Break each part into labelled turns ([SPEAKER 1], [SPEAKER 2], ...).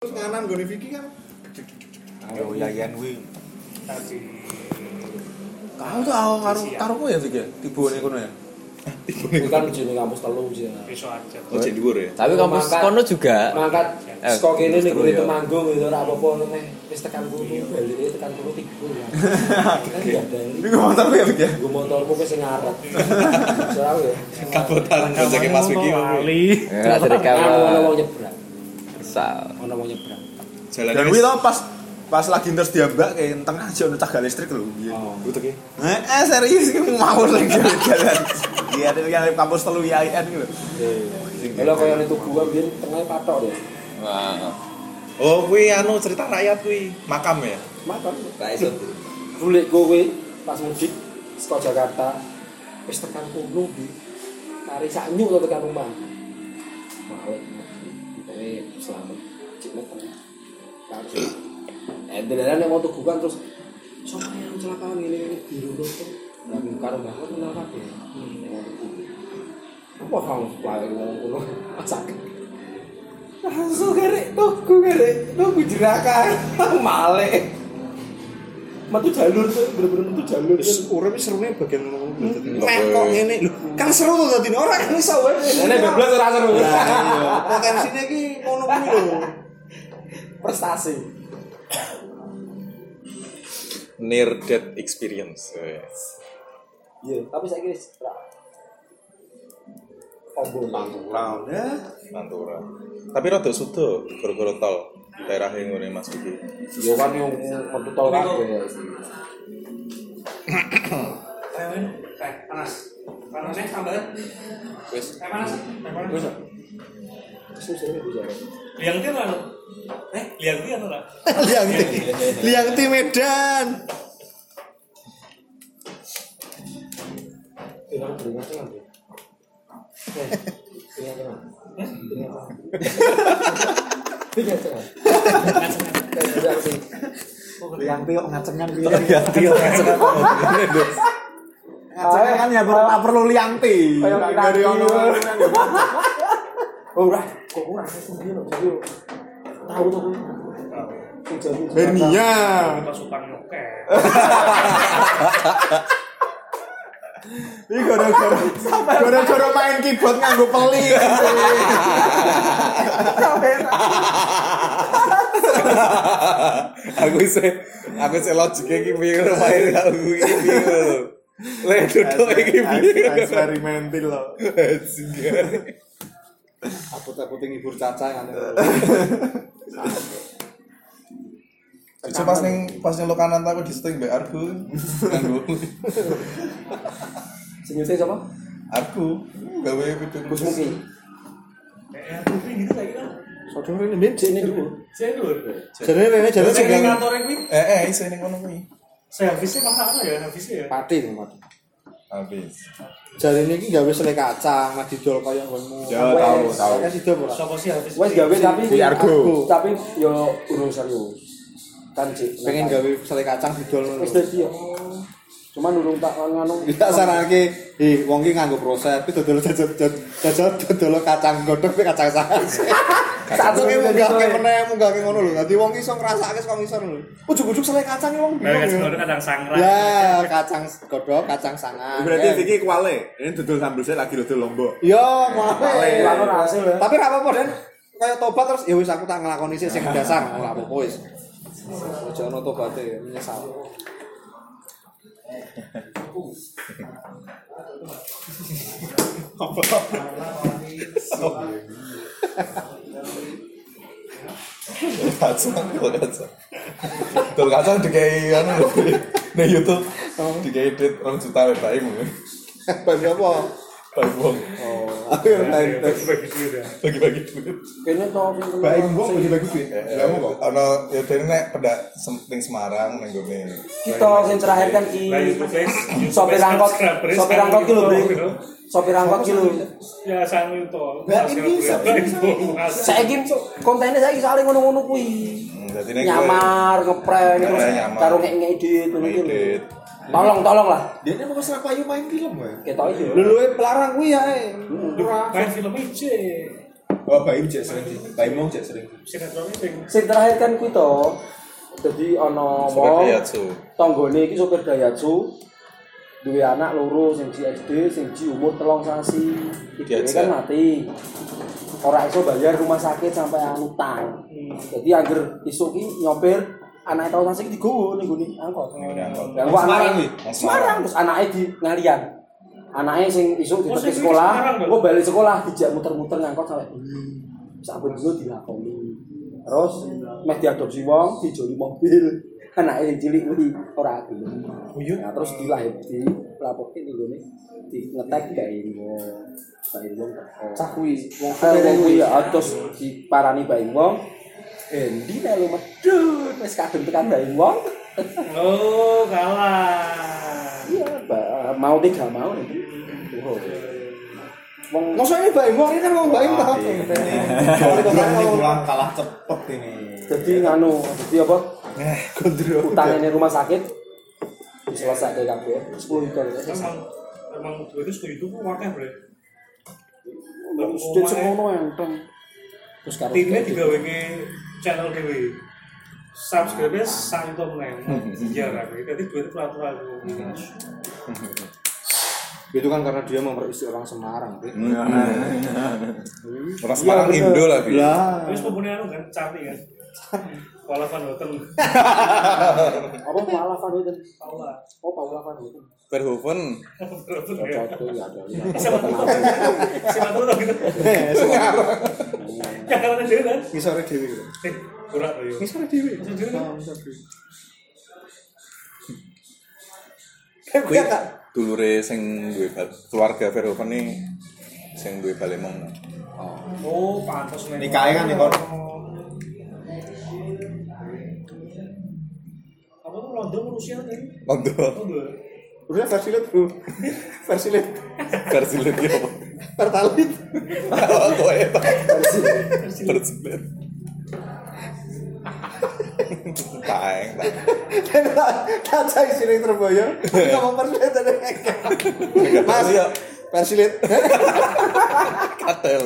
[SPEAKER 1] terus nganan gue Vicky kan
[SPEAKER 2] Ayo yayan kuwi.
[SPEAKER 3] Tadi
[SPEAKER 2] Kau tuh aku karo karo kowe ya Fik ya, tibone kono ya.
[SPEAKER 4] bukan jeneng kampus telu sih
[SPEAKER 3] besok aja.
[SPEAKER 1] oh jadi gue ya
[SPEAKER 5] Tapi kampus
[SPEAKER 4] Mangkat.
[SPEAKER 5] kono juga
[SPEAKER 4] mangkat
[SPEAKER 5] Eh,
[SPEAKER 4] skok ini nih
[SPEAKER 5] terus
[SPEAKER 4] gue
[SPEAKER 5] ya.
[SPEAKER 4] temanggung gitu ora apa-apa lu nih wis tekan kudu baliknya tekan kudu tiku ya kan ya dari
[SPEAKER 2] Ini kok motor kowe ya Fik ya.
[SPEAKER 4] gue motorku wis ngarep soal ya
[SPEAKER 1] kabotan gojeknya Mas Vicky apa?
[SPEAKER 5] Enggak dari
[SPEAKER 4] ana wong
[SPEAKER 5] kamu.
[SPEAKER 4] nyebrang
[SPEAKER 5] Sal.
[SPEAKER 4] ana wong nyebrang
[SPEAKER 1] jalannya
[SPEAKER 2] Dan kuwi tau pas pas lagi terus diambak kayak tengah aja ono cagak listrik lho. Iya.
[SPEAKER 1] uteknya
[SPEAKER 2] Eh, eh, serius iki mau lagi jalan. Iya, ada yang kampus telu yayan gitu.
[SPEAKER 4] kalau kaya itu gua biar tengah patok ya
[SPEAKER 5] Nah.
[SPEAKER 1] oh kui anu cerita rakyat kui makam ya
[SPEAKER 4] makan
[SPEAKER 5] Raison.
[SPEAKER 4] bulik kowe pas mudik saka Jakarta wis tekan kuno di kari sak nyuk to tekan rumah malik eh selamat cek meter kari eh dadaran yang mau tuku kan terus sampai yang kecelakaan ini ini di rumah tuh dan karo banget kenal kabeh yang mau tuku wah kamu pelari wong kuno sakit langsung kare tuku kare tuku jerakan malik metu jalur tuh bener-bener metu jalur
[SPEAKER 1] urip serunya Eh, bagian ngomong
[SPEAKER 2] Hmm,
[SPEAKER 4] Meh, kok ngene
[SPEAKER 1] lho kan seru tuh tadi orang kan iso
[SPEAKER 4] Ini beblas ora seru.
[SPEAKER 2] iya.
[SPEAKER 1] Nah, potensinya ki ngono kuwi lho
[SPEAKER 4] Prestasi.
[SPEAKER 2] Near death experience.
[SPEAKER 4] Iya, tapi saya kira setelah Ombo
[SPEAKER 1] Nah, ya
[SPEAKER 2] Pantura. Tapi rada sudo gara-gara tol daerah yang ngene Mas Budi.
[SPEAKER 4] Yo kan yang metu tol kabeh.
[SPEAKER 3] Eh, panas. Panasnya tambahan. Wis. Eh, panas. Eh, panas. Wis.
[SPEAKER 4] Susah ini bisa.
[SPEAKER 3] Liang dia ora. Eh, liang dia ora.
[SPEAKER 1] liang ti liang ti Medan
[SPEAKER 4] Dengan dengan dengan. Eh, dengan dengan. Dengan apa? Dengan dengan. Dengan sih.
[SPEAKER 2] Yang tiok ngacengan piye? Yang tiok ngacengan. Ngacengan kan ya perlu perlu liang ti.
[SPEAKER 4] Kayak
[SPEAKER 2] Dari ono.
[SPEAKER 4] Oh, udah. Kok kurang aku ngene lho. Tahu tuh. Tahu.
[SPEAKER 2] Hernia.
[SPEAKER 3] Kita supang Eh, oke.
[SPEAKER 2] Ini gara-gara gara-gara main keyboard nganggo peli.
[SPEAKER 5] Aku se aku se logiknya iki piye ora main aku iki piye. Le duduk iki piye.
[SPEAKER 2] Eksperimental lho.
[SPEAKER 1] aku tinggi hibur caca kan
[SPEAKER 2] Itu pas ning pas ning lokanan aku diseting mbek Argo. Nganggo.
[SPEAKER 4] Senyumnya siapa?
[SPEAKER 2] Argo gawe video
[SPEAKER 4] Gus Muki.
[SPEAKER 3] Eh, aku gitu lagi kan.
[SPEAKER 4] Saudara ini bin sini dulu.
[SPEAKER 3] Saya dulu.
[SPEAKER 1] jadi ini jadi
[SPEAKER 3] Saya
[SPEAKER 1] sih
[SPEAKER 3] kantor kuwi.
[SPEAKER 2] Eh eh iso ning kono kuwi.
[SPEAKER 3] Saya habisnya masakan ya, habisnya ya.
[SPEAKER 4] Pati nih Pati.
[SPEAKER 2] Habis.
[SPEAKER 1] jadi ini ki gawe selai kacang mah didol kaya nggonmu
[SPEAKER 2] Ya tahu tahu.
[SPEAKER 1] kan sido ora
[SPEAKER 3] Sopo sih Eh, habis?
[SPEAKER 4] Wes gawe tapi
[SPEAKER 2] Si Argo.
[SPEAKER 4] Tapi yo urung serius. Kan sih.
[SPEAKER 1] pengen gawe selai kacang didol ngono
[SPEAKER 4] Wes dadi yo. Cuman urung tak ngono.
[SPEAKER 1] Kita saranke, eh wong ki nganggo proses, kuwi dodol jajal jajal dodol kacang godhog kuwi kacang sangan. Satu ki munggahke meneh, munggahke ngono lho. Dadi wong ki iso ngrasake saka ngisor lho. Ujug-ujug selai kacang wong bingung. ya.
[SPEAKER 3] kadang sangrai.
[SPEAKER 1] Ya, kacang godhog, kacang sangan. ya.
[SPEAKER 2] Berarti iki kuale. Ini dudul sambil saya lagi dudul lombok.
[SPEAKER 1] Ya, malah.
[SPEAKER 4] Lalu hasil ya.
[SPEAKER 1] Tapi ra apa-apa dan kaya tobat terus ya wis aku tak nglakoni sih sing dasar ora apa-apa wis. Aja ono tobaté menyesal.
[SPEAKER 2] kacang dol kacang dol kacang dikai anu lho, di YouTube dikai duit orang juta wae bae mung
[SPEAKER 1] Bagi apa?
[SPEAKER 2] bae wong
[SPEAKER 1] Oh, aku yang lain.
[SPEAKER 2] bagi-bagi duit
[SPEAKER 4] Kene to pintu.
[SPEAKER 2] bagi-bagi duit lha kok ana ya dene nek pendak penting Semarang ning gone
[SPEAKER 4] Kita sing terakhir kan ki sopir angkot. Sopir angkot ki lho, Bre. Sopir angkot ki lho.
[SPEAKER 3] Ya sang itu.
[SPEAKER 1] Lah, ini bisa,
[SPEAKER 4] Saiki kontennya saiki soalnya ngono-ngono kuwi.
[SPEAKER 2] Hmm, dadi nek
[SPEAKER 4] Nyamar, ngeprank terus
[SPEAKER 2] nyamar.
[SPEAKER 4] karo ngek-ngek duit ngono
[SPEAKER 2] gue-
[SPEAKER 4] ki lho.
[SPEAKER 2] duit
[SPEAKER 4] Tolong, tolong lah.
[SPEAKER 1] Dia ini mau serap ayu main film ya?
[SPEAKER 4] Ketok iki.
[SPEAKER 1] Dulu pelarang kuwi ya. eh. Ora.
[SPEAKER 3] Main film aja.
[SPEAKER 1] Oh,
[SPEAKER 6] Wah, bayi cek sering. Bayi mau cek sering.
[SPEAKER 3] Sinetronnya sing
[SPEAKER 4] Sing terakhir kan kuwi to. Dadi ana
[SPEAKER 2] Supir
[SPEAKER 4] wong
[SPEAKER 2] Daihatsu.
[SPEAKER 4] tanggane iki sopir Daihatsu duwe anak loro sing Ji SD, sing Ji umur telung sasi. Ibune
[SPEAKER 2] Diajak.
[SPEAKER 4] kan mati. Ora iso bayar rumah sakit sampai utang. Jadi angger isuk ki nyopir anak telung sasi iki digowo ning gone angkot. Dan kok
[SPEAKER 6] Semarang
[SPEAKER 4] anake
[SPEAKER 6] iki?
[SPEAKER 4] Semarang terus anake di ngalian. Anaknya sing isuk di
[SPEAKER 3] Oh, sing Semarang,
[SPEAKER 4] sekolah,
[SPEAKER 3] Bang.
[SPEAKER 4] gua balik sekolah dijak muter-muter ngangkot "Hmm, sampai saben dino dilakoni. Terus meh diadopsi wong, dijoli mobil. Anake sing cilik kuwi ora gelem.
[SPEAKER 6] Oh,
[SPEAKER 4] Nah, terus dilahir di lapoke ning gone di ngetek bayi wong. Bayi wong teko.
[SPEAKER 6] Cah kuwi wong
[SPEAKER 4] Eh, wong kuwi ya terus diparani bayi wong. Endi nek lu medhut wis kadung tekan bayi wong.
[SPEAKER 3] oh kalah.
[SPEAKER 4] Iya, ba- mau deh gak mau nih. Wow. Wong
[SPEAKER 6] Masa ini bayi mau ini kan mau bayi
[SPEAKER 1] Ah,
[SPEAKER 6] mau.
[SPEAKER 1] iya. Gondrong ini pulang kalah cepet ini.
[SPEAKER 4] jadi nganu, jadi apa?
[SPEAKER 6] Gondrong.
[SPEAKER 4] Utangnya di rumah sakit diselesai dari kabeh. 10 juta ya.
[SPEAKER 3] Emang emang dua itu itu kok wakil bre.
[SPEAKER 4] Sudah semono enteng. Terus karo
[SPEAKER 3] Timnya digawe ke channel dewi. Subscribe santom neng. Iya kan. Jadi duit peraturan.
[SPEAKER 6] Itu kan karena dia memperisi orang Semarang.
[SPEAKER 1] Iya,
[SPEAKER 6] Bre.
[SPEAKER 2] Orang Semarang
[SPEAKER 6] bener.
[SPEAKER 2] Indo lagi.
[SPEAKER 6] Lah.
[SPEAKER 3] Terus pembunuh anu kan cari kan. Walaupun hotel.
[SPEAKER 4] apa Paula Van itu?
[SPEAKER 3] Allah.
[SPEAKER 4] Oh, Paula Van itu.
[SPEAKER 2] Verhoeven.
[SPEAKER 4] Cocok ya ada.
[SPEAKER 3] Eh, Siapa tuh? Siapa tuh gitu?
[SPEAKER 6] Iya,
[SPEAKER 3] Ya karena dia kan.
[SPEAKER 6] Ngisore dhewe. Bre.
[SPEAKER 3] Eh, kurang loh. yuk.
[SPEAKER 6] Ngisore dhewe.
[SPEAKER 3] Ngisore dhewe.
[SPEAKER 6] Oh, ngisore dhewe. Kayak
[SPEAKER 1] Iya,
[SPEAKER 6] kuwi kan.
[SPEAKER 2] Dulure sing duwe bal- keluarga Verhoeven nih sing duwe Balemong.
[SPEAKER 3] Oh, pantas men.
[SPEAKER 6] Nikahnya kan, Nikon.
[SPEAKER 3] Apa tuh London Rusia tadi? Oh,
[SPEAKER 2] Londo
[SPEAKER 3] Apa gue?
[SPEAKER 6] Udah versi led, Bro. Versi led.
[SPEAKER 2] versi ya, lagi apa?
[SPEAKER 6] Pertalit.
[SPEAKER 2] Kowe tak versi lagi. Taeng, taeng.
[SPEAKER 6] Kaca isinya terboyo. Ngomong versi led ada ngekek. Mas.
[SPEAKER 2] Iya.
[SPEAKER 6] Versi led.
[SPEAKER 2] Katel.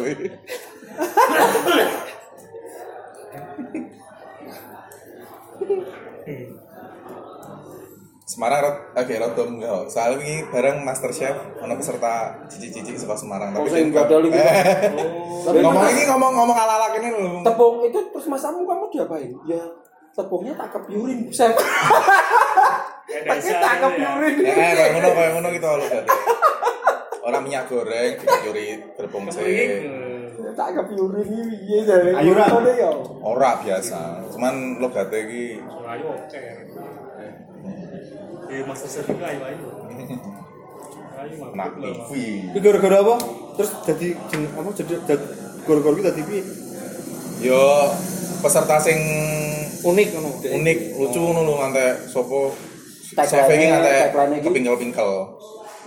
[SPEAKER 2] Semarang rot agak rada enggak. Soalnya ini bareng Master Chef ono peserta cici-cici sepak Semarang
[SPEAKER 4] Oh,
[SPEAKER 2] tapi
[SPEAKER 4] sing
[SPEAKER 2] dia-
[SPEAKER 4] gadol iki.
[SPEAKER 2] Eh,
[SPEAKER 4] Tapi
[SPEAKER 2] ngomong ini ngomong-ngomong ala-ala kene lho.
[SPEAKER 4] tepung itu terus masamu kamu diapain? Ya tepungnya tak kepiurin, Buset.
[SPEAKER 3] Eh,
[SPEAKER 4] Pakai tak
[SPEAKER 3] Daisa gitu ya.
[SPEAKER 4] kepiurin.
[SPEAKER 2] Eh, kayak ngono kayak ngono gitu lho Dade. Orang minyak goreng dicuri gerbong
[SPEAKER 3] Kepiring,
[SPEAKER 2] sih.
[SPEAKER 3] eh.
[SPEAKER 4] Tak kepiurin iki piye jare.
[SPEAKER 6] Ayo, Ra.
[SPEAKER 4] Ngono ya.
[SPEAKER 2] Ora biasa. Cuman logate iki
[SPEAKER 3] Oh, ayo, oke. Di Master Chef ini, ayo, ayo. Ayo,
[SPEAKER 2] nak
[SPEAKER 3] mantap loh.
[SPEAKER 2] TV.
[SPEAKER 6] Iya. Ini gara-gara apa? Terus jadi jeng- apa jadi jadi- gara-gara kita TV
[SPEAKER 2] Yo peserta sing
[SPEAKER 6] unik ngono.
[SPEAKER 2] unik lucu ngono lho ngantek sopo
[SPEAKER 4] Tagline-nya-
[SPEAKER 2] chef iki ngantek
[SPEAKER 4] tagline-nya iki.
[SPEAKER 2] kepingkel-pingkel.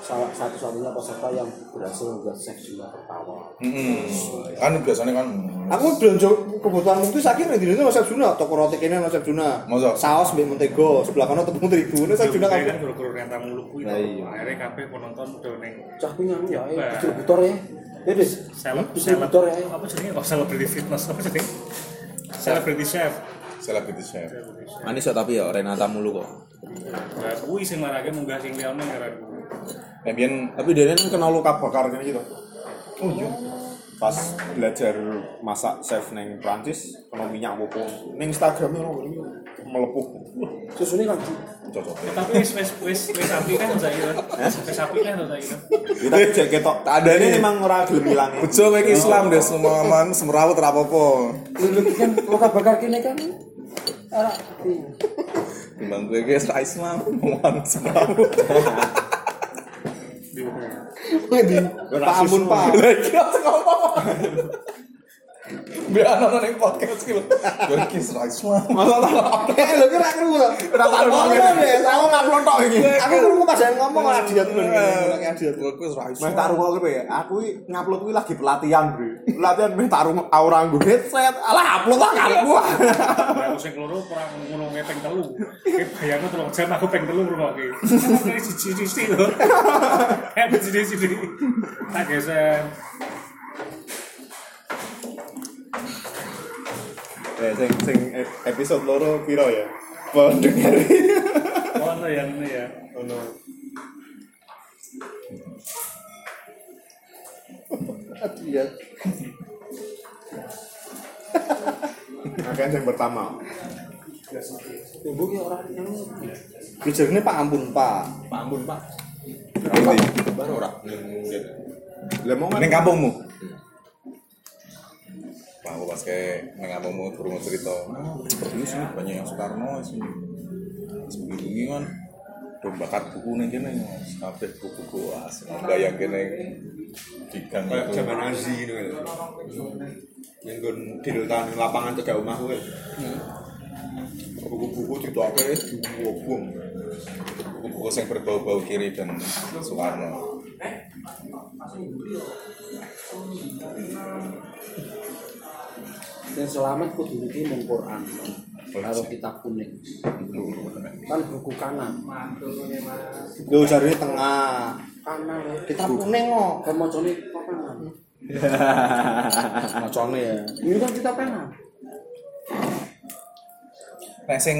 [SPEAKER 4] Salah satu-satunya peserta yang berhasil membuat seks jumlah tertawa.
[SPEAKER 2] Heeh. Kan biasanya kan
[SPEAKER 6] Aku belanja kebutuhan itu sakit nih dirinya resep Juna, toko roti kene resep Juna.
[SPEAKER 2] Masa?
[SPEAKER 6] Saus mbek mentega, sebelah kono tepung terigu, ini resep Juna
[SPEAKER 3] Kayak
[SPEAKER 6] kan.
[SPEAKER 3] kan guru-guru yang tamu lu kuwi,
[SPEAKER 6] Lah, iya. Hmm?
[SPEAKER 3] akhirnya kabeh penonton udah neng
[SPEAKER 4] Cah kuwi nganu ya, eh,
[SPEAKER 3] Bah.
[SPEAKER 4] distributor ya. Ya Des.
[SPEAKER 3] seleb seleb
[SPEAKER 4] distributor ya. eh.
[SPEAKER 3] apa jenenge
[SPEAKER 6] Iya.
[SPEAKER 3] kok selebriti fitness apa jenenge selebriti chef
[SPEAKER 2] selebriti chef.
[SPEAKER 7] Manis ya tapi ya Renata mulu kok.
[SPEAKER 3] Nah, kuwi sing marake munggah sing liyane ngaran kuwi.
[SPEAKER 2] Nah, biyen
[SPEAKER 7] Tapi dia kan kena luka bakar.
[SPEAKER 1] Karena gitu. Oh iya. Pas belajar masak chef neng Prancis, kena minyak wopo. Neng Instagramnya orang ini melepuh.
[SPEAKER 4] Susune kan Ji.
[SPEAKER 2] cocok.
[SPEAKER 3] Eh, tapi wis wis wis wis api kan saiki kan wis api kan saiki kan
[SPEAKER 1] Kita cek ketok.
[SPEAKER 2] Tak ada nih.
[SPEAKER 1] ini emang ora gelem ilangnya.
[SPEAKER 2] Bejo kowe iki Islam deh semua aman semrawut ra apa-apa.
[SPEAKER 4] Lho iki kan luka bakar kene kan. Ora.
[SPEAKER 2] Timbang kowe iki ra Islam ngomongan semrawut.
[SPEAKER 6] Pak ampun Pak.
[SPEAKER 2] Lah iki langsung ngomong. Biar ana ning podcast iki lho. Yo iki ra Islam.
[SPEAKER 6] Eh, lho kira kru lho.
[SPEAKER 2] Kenapa lu ngomong?
[SPEAKER 6] Aku ngaplon tok iki. Aku krungu pas jalan ngomong adiat lho.
[SPEAKER 2] Eh,
[SPEAKER 6] Adiat.
[SPEAKER 2] Kowe wis ra
[SPEAKER 1] Meh
[SPEAKER 2] Islam.
[SPEAKER 1] tak rungokno kowe ya. Aku iki ngupload kuwi lagi pelatihan, Bro. Pelatihan meh tak rungok ora nggo headset. Alah upload tak karepku.
[SPEAKER 3] Nah, aku sing loro ora ngono kowe ping telu. Ki bayangno telung jam aku ping telu rungokke. Kayak siji-siji lho. Kayak siji-siji. Tak geser.
[SPEAKER 1] Ya, Eh, sing sing ep- episode loro piro ya? Pendengar.
[SPEAKER 3] Oh, no ya, no ya.
[SPEAKER 1] Ono.
[SPEAKER 6] Iya.
[SPEAKER 1] Akan yang pertama.
[SPEAKER 4] Ibu ya orang yang
[SPEAKER 6] Lu jenenge Pak Ampun, Pak.
[SPEAKER 2] Pampun, Pak.
[SPEAKER 7] Baru ora.
[SPEAKER 1] Lah mau
[SPEAKER 2] Ning
[SPEAKER 1] kan?
[SPEAKER 2] kampungmu. Pak, aku pas kayak ning kampungmu turun cerita. "Ah, Dulu sini banyak yang Soekarno sini. Sebelumnya kan udah bakar buku nih kene kabeh buku-buku asli yang kene di gang
[SPEAKER 1] Kayak
[SPEAKER 2] itu.
[SPEAKER 1] zaman Nazi gitu. ya. Yang gun di hutan lapangan cedek omah gue. Buku-buku itu apa ya? Buku-buku.
[SPEAKER 2] buku-buku yang berbau-bau kiri dan Soekarno
[SPEAKER 4] yang selamat kudu niki mung Quran karo kitab kuning. Kan buku kanan.
[SPEAKER 6] Lu jarine tengah.
[SPEAKER 4] Kanan. eh.
[SPEAKER 6] Kita kuning kok.
[SPEAKER 4] Kan macane kanan.
[SPEAKER 6] Macane ya.
[SPEAKER 4] Ini kan kitab kanan.
[SPEAKER 2] nah sing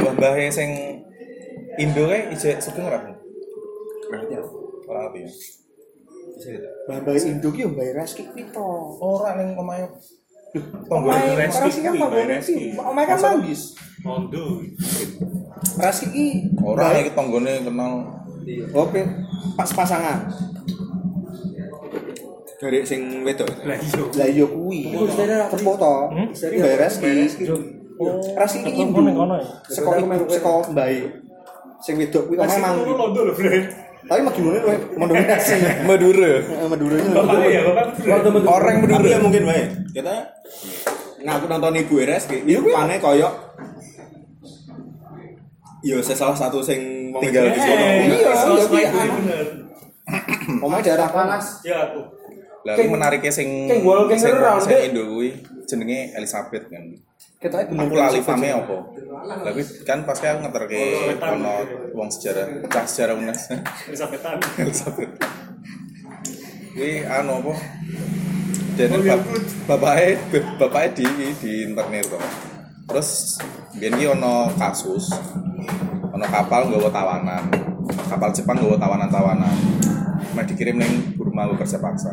[SPEAKER 2] mbah-mbah sing Indo kae ije sugeng ora Bu? ora ngerti ya
[SPEAKER 6] Mbak Indo ki yo mbayar reski pito.
[SPEAKER 2] ora ning omahe tonggo
[SPEAKER 6] Omae
[SPEAKER 2] reski
[SPEAKER 6] reski kan panggonan sih. Omae kan manggis.
[SPEAKER 3] Mondo.
[SPEAKER 6] Reski ki
[SPEAKER 2] ora iki tonggone kenal
[SPEAKER 6] Oke, pas pasangan.
[SPEAKER 1] Dari sing wedok.
[SPEAKER 3] Lah iyo.
[SPEAKER 6] Lah iya kuwi.
[SPEAKER 4] Iku
[SPEAKER 3] Oh,
[SPEAKER 4] sebenarnya
[SPEAKER 6] Cepo to.
[SPEAKER 3] Hmm?
[SPEAKER 6] Iki mbayar reski. Reski ki
[SPEAKER 3] Aku
[SPEAKER 6] Indo.
[SPEAKER 3] ning kono ya.
[SPEAKER 6] Seko seko mbae. Sing wedok kuwi omae
[SPEAKER 3] Aku
[SPEAKER 6] manggis.
[SPEAKER 3] Londo lho, Bre.
[SPEAKER 6] Tapi Madura ini mendominasi.
[SPEAKER 2] Madura
[SPEAKER 6] Madura ini
[SPEAKER 3] Bapak ya, Bapak.
[SPEAKER 6] Iya,
[SPEAKER 3] Londo
[SPEAKER 2] orang
[SPEAKER 1] Tapi ya
[SPEAKER 2] Madura
[SPEAKER 1] mungkin wae. Kita nah aku nonton Ibu Eres ki,
[SPEAKER 6] Iya,
[SPEAKER 1] iku pane koyo Yo, saya salah satu sing wong
[SPEAKER 3] Ya,
[SPEAKER 2] Tinggal di
[SPEAKER 1] wedok iki.
[SPEAKER 2] sono.
[SPEAKER 6] Iya, iya, iya.
[SPEAKER 3] bener.
[SPEAKER 6] Omah daerah panas.
[SPEAKER 4] Panas.
[SPEAKER 3] Ya aku.
[SPEAKER 2] lalu menariknya sing
[SPEAKER 4] King Wall, King
[SPEAKER 2] sing
[SPEAKER 4] Gerang,
[SPEAKER 2] sing
[SPEAKER 4] Dek.
[SPEAKER 2] Indo kuwi jenenge Elizabeth kan
[SPEAKER 6] Kita ini
[SPEAKER 2] aku lali pame apa tapi kan pas aku ngeter ke
[SPEAKER 3] Soetan.
[SPEAKER 2] ono uang sejarah cah sejarah unas
[SPEAKER 3] Elisabetan.
[SPEAKER 2] Elizabeth Wih, anu apa dan
[SPEAKER 3] Oh,
[SPEAKER 2] bap
[SPEAKER 3] Yakut.
[SPEAKER 2] bapaknya bapaknya di di internet to terus biar ki ono kasus ono kapal nggak tawanan kapal Jepang nggak tawanan tawanan Meh dikirim neng Burma gue kerja paksa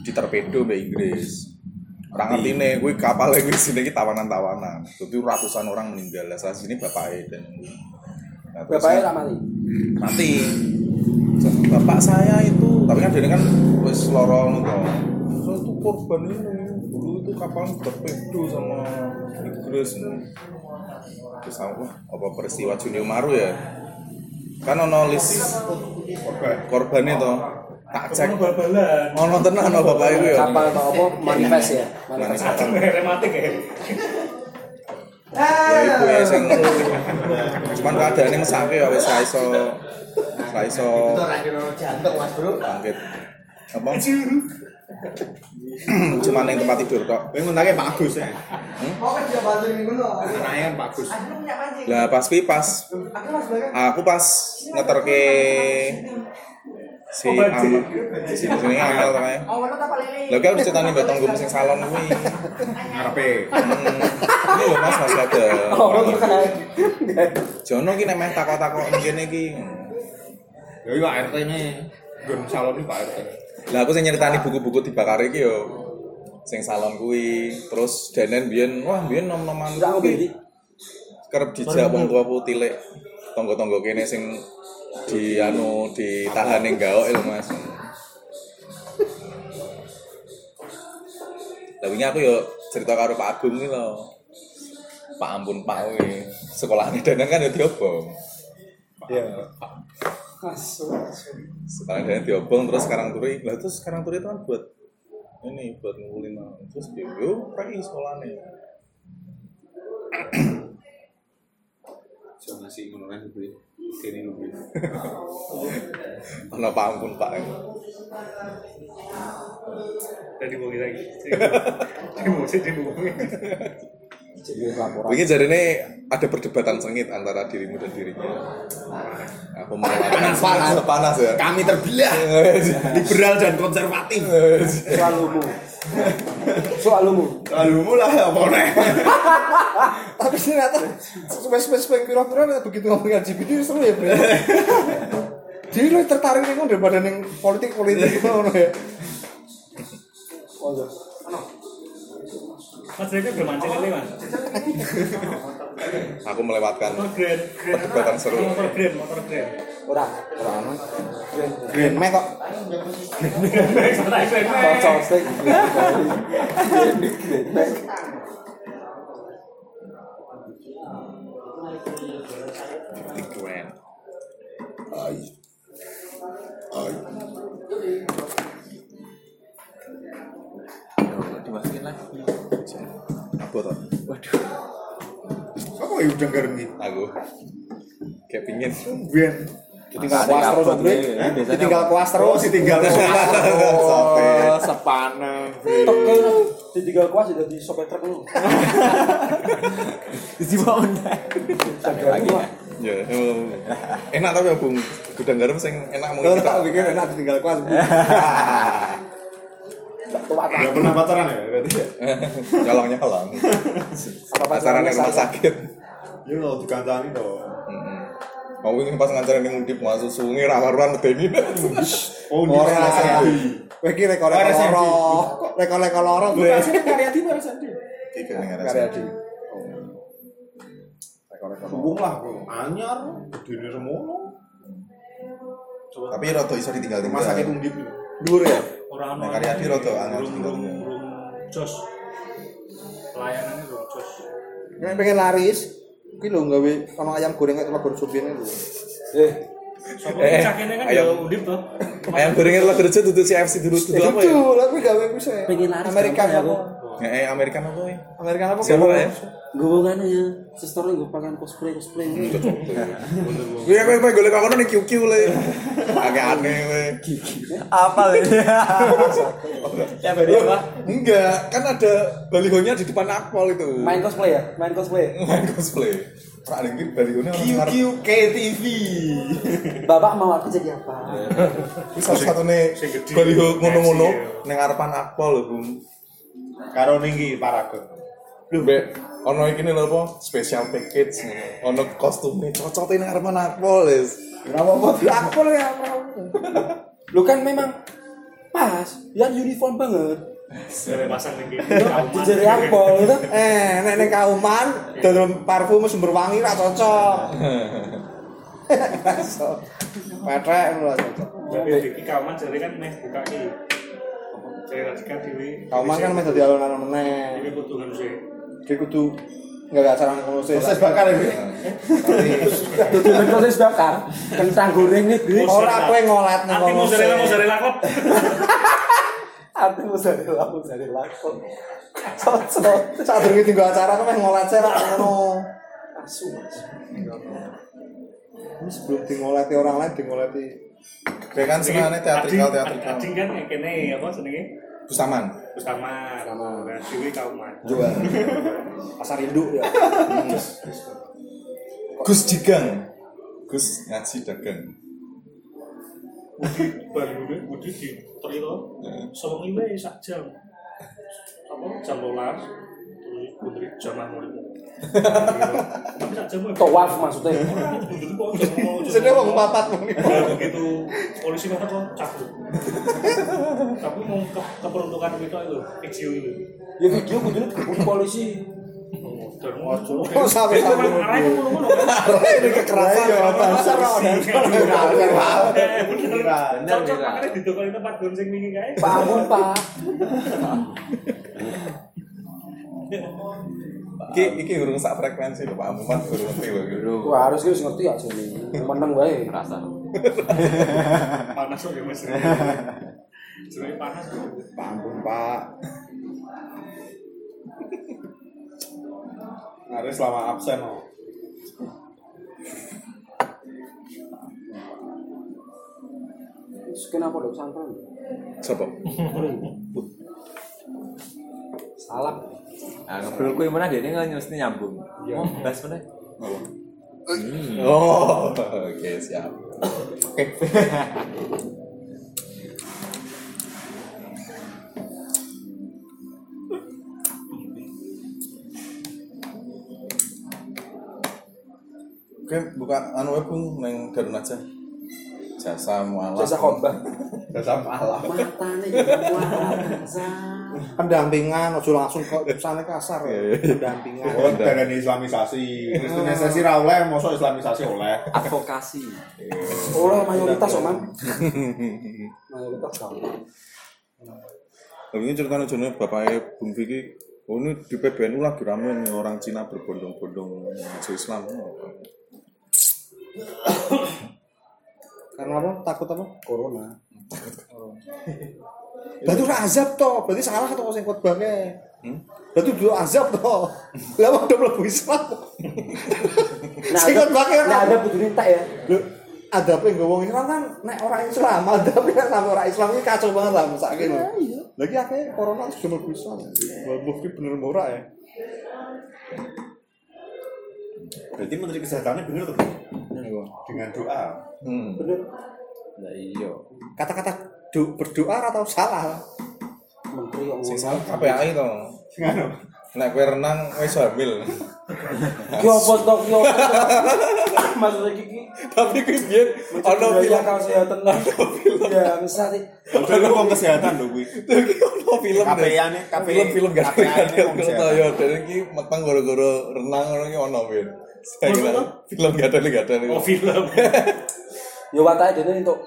[SPEAKER 2] diterpedo mbak Inggris orang ngerti nih gue kapal lagi sini tawanan tawanan itu ratusan orang meninggal lah salah sini bapaknya dan Nah, terus-
[SPEAKER 4] Bapaknya ramai.
[SPEAKER 2] mati bapak saya itu tapi kan dia kan wis lorong to saya itu korban ini dulu itu kapal torpedo sama Inggris terus apa apa peristiwa Juni Umaru ya kan ono list korbannya to tak cek
[SPEAKER 3] Kamu bal-balan.
[SPEAKER 2] ono tenan ono bapak iku ya
[SPEAKER 4] Kapal atau apa manifest ya.
[SPEAKER 2] Manis
[SPEAKER 4] Manifest.
[SPEAKER 2] banget.
[SPEAKER 3] Rematik ya.
[SPEAKER 2] ya ibu ya sing cuman keadaannya mesake ya wis ra iso ra iso bangkit apa cuman yang tempat tidur kok
[SPEAKER 1] Kowe ngundangke Pak Agus
[SPEAKER 2] eh.
[SPEAKER 1] ya. Nanya Pak Agus.
[SPEAKER 2] lah pas pi pas aku pas ngeter ke si Amal si sini Amal namanya lo kan ya? udah ceritain batang gue sing salon gue
[SPEAKER 1] Ngarepe.
[SPEAKER 2] ini lo mas mas ada
[SPEAKER 4] Oh, iya.
[SPEAKER 2] Jono ki nek meh takok-takok ngene iki.
[SPEAKER 1] Ya iya Pak RT ne. Gun salon iki Pak RT.
[SPEAKER 2] Lah aku sing nyeritani buku-buku dibakar iki yo. Sing salon kuwi, terus denen biyen wah biyen nom-noman
[SPEAKER 4] Enggak aku
[SPEAKER 2] kuwi kerep dijak wong tua ku tilik. Tonggo-tonggo kene sing di anu ditahan ning gaok lho Mas. Lah wingi aku yo cerita karo Pak Agung iki lho. Pak ampun Pak kuwi. Sekolahane denen kan yo diobong. sekarang dia diobong terus sekarang turi lah terus sekarang turi itu kan buat ini buat ngumpulin orang. terus dia yo pergi sekolahnya
[SPEAKER 1] Cuma sih ngono kan beli. Kene ngono.
[SPEAKER 2] ono pak ampun pak
[SPEAKER 3] Dari bumi lagi. Dari bumi sih, dari bumi.
[SPEAKER 4] Jadi laporan.
[SPEAKER 2] begini jadi ini ada perdebatan sengit antara dirimu dan dirinya aku mau panas panas panas ya
[SPEAKER 1] Kami terbelah liberal dan konservatif.
[SPEAKER 4] Selalu mu. Soalmu.
[SPEAKER 1] Lalu mulai apa nih?
[SPEAKER 6] Tapi ternyata spes-spes yang pira-pira nek begitu ngomong LGBT seru ya, Bro. Jadi lu tertarik nih daripada yang politik-politik itu ngono ya.
[SPEAKER 3] Mas Riko belum mancing kali mas.
[SPEAKER 2] Aku melewatkan
[SPEAKER 3] Motor grand, grand apa?
[SPEAKER 2] Perdebatan seru.
[SPEAKER 3] Motor grand, motor grand.
[SPEAKER 4] Ora.
[SPEAKER 6] Green Mac kok.
[SPEAKER 3] Santai, grand, grand.
[SPEAKER 4] Cocok sih.
[SPEAKER 2] Fifty Grand.
[SPEAKER 7] dimasukin lagi
[SPEAKER 2] Apa tuh?
[SPEAKER 6] Kok ya udah gareng gitu.
[SPEAKER 2] Aku kayak pingin.
[SPEAKER 6] Biar ditinggal kuas terus
[SPEAKER 7] kabut,
[SPEAKER 6] Bro.
[SPEAKER 7] ya.
[SPEAKER 6] Hah?
[SPEAKER 7] Biasanya
[SPEAKER 6] Ditinggal kuas terus, ditinggal kuas.
[SPEAKER 7] oh sepana
[SPEAKER 4] Tekel ditinggal kuas sudah di sopet truk lu.
[SPEAKER 7] dibawa mendadak lagi ya
[SPEAKER 2] Ya, em, enak tapi aku gudang garam sing enak mau
[SPEAKER 6] Kalau
[SPEAKER 2] kita.
[SPEAKER 6] tak pikir enak ditinggal kuas. Bu.
[SPEAKER 1] Gak pernah pacaran ya berarti ya?
[SPEAKER 2] Nyolong nyolong. Pacaran yang rumah sakit.
[SPEAKER 1] Iya loh, dikancani loh.
[SPEAKER 2] Mm-mm. Mau ingin pas ngancarin yang ngundip masuk sungai rawar-rawar medeni.
[SPEAKER 1] Oh, di
[SPEAKER 6] Ora
[SPEAKER 1] sana
[SPEAKER 6] ya.
[SPEAKER 1] saya.
[SPEAKER 6] Kowe iki rekor-rekor
[SPEAKER 1] Ora, Sandy.
[SPEAKER 6] loro. Rekor-rekor loro. Bu.
[SPEAKER 4] Karyadi baru sandi.
[SPEAKER 6] Karyadi.
[SPEAKER 1] Hubung lah,
[SPEAKER 6] Iya.
[SPEAKER 1] bro. anyar, dini semono.
[SPEAKER 2] Tapi roto iso ditinggal
[SPEAKER 1] Rumah
[SPEAKER 2] tinggal.
[SPEAKER 1] sakit undip.
[SPEAKER 6] Dhuwur ya.
[SPEAKER 3] Orang
[SPEAKER 2] Nah, Karyadi rada angel
[SPEAKER 3] Rum-
[SPEAKER 2] tinggal.
[SPEAKER 3] rum- rum jos. Pelayanannya rum jos.
[SPEAKER 6] Nek pengen laris, kuwi lho gawe ana ayam goreng kaya telur supine lho.
[SPEAKER 4] Eh,
[SPEAKER 3] Sopo
[SPEAKER 2] Eh,
[SPEAKER 3] cak ini kan
[SPEAKER 2] ayam.
[SPEAKER 3] ya udip toh.
[SPEAKER 2] Ayam gorengnya telah kerja tutup CFC dulu tutup apa ya?
[SPEAKER 6] Lucu, aku gawe kuwi saya.
[SPEAKER 7] Pengen laris,
[SPEAKER 6] Amerika
[SPEAKER 7] gampang ya,
[SPEAKER 6] apa?
[SPEAKER 2] Eh,
[SPEAKER 7] Bu.
[SPEAKER 2] eh, American apa ya?
[SPEAKER 6] Amerika apa?
[SPEAKER 2] Siapa ya?
[SPEAKER 7] gue kan ya sestor gue pakan cosplay cosplay
[SPEAKER 2] Gue aku pengen Ya, golek kono ning QQ le. Agak aneh we.
[SPEAKER 7] apa lu ya beri apa
[SPEAKER 2] Enggak, kan ada balihonya di depan akpol itu.
[SPEAKER 4] main cosplay ya? Main cosplay.
[SPEAKER 2] Main cosplay. Rak ning iki balihonya orang ngarep.
[SPEAKER 1] QQKTV.
[SPEAKER 4] Bapak mau aku jadi apa?
[SPEAKER 2] Wis satu-satune
[SPEAKER 3] sing gede.
[SPEAKER 2] baliho ngono-ngono
[SPEAKER 3] Iya.
[SPEAKER 2] ning ngarepan akpol lho, Bung.
[SPEAKER 1] Karo ninggi paragon.
[SPEAKER 2] Lho, Mbak, ono iki lho apa? Special package ngono. Ono kostume cocote ning ngarepan akpol, wis.
[SPEAKER 6] Ora apa-apa, aku ya.
[SPEAKER 4] Lu kan memang pas, yang uniform banget.
[SPEAKER 3] Dari pasang ning kene.
[SPEAKER 4] Di jari akpol gitu.
[SPEAKER 6] Eh, nek ning kauman dalam parfum sumber wangi ra cocok. Petrek ngono ra cocok.
[SPEAKER 3] Jadi iki kawan jare kan meh buka iki. Jare radikal dhewe.
[SPEAKER 6] Kauman kan mesti dadi alon-alon meneh.
[SPEAKER 3] Iki kudu ngerti.
[SPEAKER 6] Jadi kudu gawe acara ngono sih.
[SPEAKER 1] Proses bakar ya,
[SPEAKER 4] Jadi main proses bakar, kentang goreng negeri.
[SPEAKER 6] Ora kowe ngolet nang
[SPEAKER 3] Nanti
[SPEAKER 6] kono.
[SPEAKER 3] mozzarella mozzarella klub.
[SPEAKER 4] Ati mozzarella, mozzarella kok. Cocok.
[SPEAKER 6] Sadurunge tinggal acara kok meh ngolet sih ra ngono.
[SPEAKER 4] Asu, asu.
[SPEAKER 6] Ini sebelum dingoleti orang lain dingoleti
[SPEAKER 2] Kayak kan senengane teatrikal teatrikal.
[SPEAKER 3] Ading kan yang kene apa jenenge?
[SPEAKER 2] Bustaman.
[SPEAKER 3] Bustaman. Nah, dhewe kauman.
[SPEAKER 6] jual pasar induk ya
[SPEAKER 2] Hmm. Gus Jigang. Gus ngaji dagang.
[SPEAKER 3] Bali Budi di Trilo sewengi wae sak jam. Apa jam 12 terus putri jam 5. Tapi sak jam wae.
[SPEAKER 4] Tawaf maksudnya.
[SPEAKER 3] Bundut kok jam lima, jam
[SPEAKER 6] jadi orang
[SPEAKER 3] lima.
[SPEAKER 6] papat muni
[SPEAKER 3] Ya, begitu polisi mepet kok cabut. Tapi mau ke keperuntukan itu itu video itu.
[SPEAKER 4] Ya video kudu dikebut polisi.
[SPEAKER 3] Dan mau
[SPEAKER 6] Kok sampai
[SPEAKER 3] Itu kan
[SPEAKER 6] sampai
[SPEAKER 3] arahnya ngono-ngono kan.
[SPEAKER 6] ini
[SPEAKER 4] iya,
[SPEAKER 6] kekerasan
[SPEAKER 1] Iya,
[SPEAKER 6] ya pasar orang
[SPEAKER 3] Eh, bener. Cocok makanya didokoni tempat gonseng wingi kae.
[SPEAKER 4] Pak Amun, Pak.
[SPEAKER 2] Iki iki urung sak frekuensi lho Pak Muhammad urung ngerti lho.
[SPEAKER 4] Wah, harus harus ngerti ya sini. Menang wae.
[SPEAKER 7] rasa
[SPEAKER 3] Panas kok ya Mas. Jenenge panas kok.
[SPEAKER 6] ampun pak
[SPEAKER 1] Hari selama absen loh.
[SPEAKER 4] Terus kenapa dong sangkran?
[SPEAKER 2] Coba.
[SPEAKER 4] Salah. Iya.
[SPEAKER 7] nah ngobrol kue mana dia ini mesti nyambung mau bahas mana Hmm.
[SPEAKER 2] Oh, oke siap. Oke, buka anu web pun neng Garun aja. Jasa mualaf.
[SPEAKER 4] Jasa khotbah.
[SPEAKER 2] Jasa mualaf.
[SPEAKER 4] matane ya kuat
[SPEAKER 6] pendampingan ojo langsung ke sana kasar ya.
[SPEAKER 2] Iya, iya.
[SPEAKER 6] pendampingan Ah.
[SPEAKER 1] Oh, darah islamisasi. Kristenisasi ra oleh, mosok islamisasi oleh.
[SPEAKER 7] advokasi
[SPEAKER 4] oleh mayoritas kok man mayoritas gampang
[SPEAKER 2] Tapi ini ceritanya jenis bapaknya Bung Vicky. Oh ini di PBNU lagi rame nih orang Cina berbondong-bondong masuk Islam. Oh,
[SPEAKER 6] karena apa takut apa
[SPEAKER 4] corona
[SPEAKER 6] berarti udah azab toh berarti salah atau sing khotbahnya
[SPEAKER 2] Hmm?
[SPEAKER 6] berarti udah azab toh lah wong udah mlebu Islam
[SPEAKER 4] nah
[SPEAKER 6] sing
[SPEAKER 4] ada,
[SPEAKER 6] khotbahnya
[SPEAKER 4] nah,
[SPEAKER 6] kan
[SPEAKER 4] ada budiri tak ya
[SPEAKER 6] lho ada apa nggak wong Islam kan nek orang Islam ada apa nek sama orang Islam ini kacau banget lah sakit
[SPEAKER 4] Iya,
[SPEAKER 6] lho lagi akhirnya corona sudah mlebu Islam mlebu ki bener murah ya
[SPEAKER 1] Berarti menteri kesehatannya bener tuh. Dengan doa.
[SPEAKER 2] Hmm.
[SPEAKER 4] bener
[SPEAKER 2] Lah iya.
[SPEAKER 6] kata-kata do- berdoa atau salah
[SPEAKER 4] menteri yang
[SPEAKER 2] Sing salah KPAI to.
[SPEAKER 1] Sing anu.
[SPEAKER 2] Nek kowe renang wis hamil.
[SPEAKER 4] Ki opo to ki opo to? Maksudnya iki
[SPEAKER 2] Tapi kuwi biyen ana film
[SPEAKER 4] kalau kesehatan lah. Ya bisa sih.
[SPEAKER 1] Udah lu kan wong kesehatan lho kuwi.
[SPEAKER 2] ono film deh.
[SPEAKER 1] KPA nih, KPA.
[SPEAKER 2] film-film gak ada
[SPEAKER 1] KPA ini wong
[SPEAKER 2] film
[SPEAKER 1] sehat.
[SPEAKER 2] tau ya dan ini meteng gara-gara renang ngono ki ono win saya kira film gak ada gak ada
[SPEAKER 3] oh film
[SPEAKER 4] Ya watake dene untuk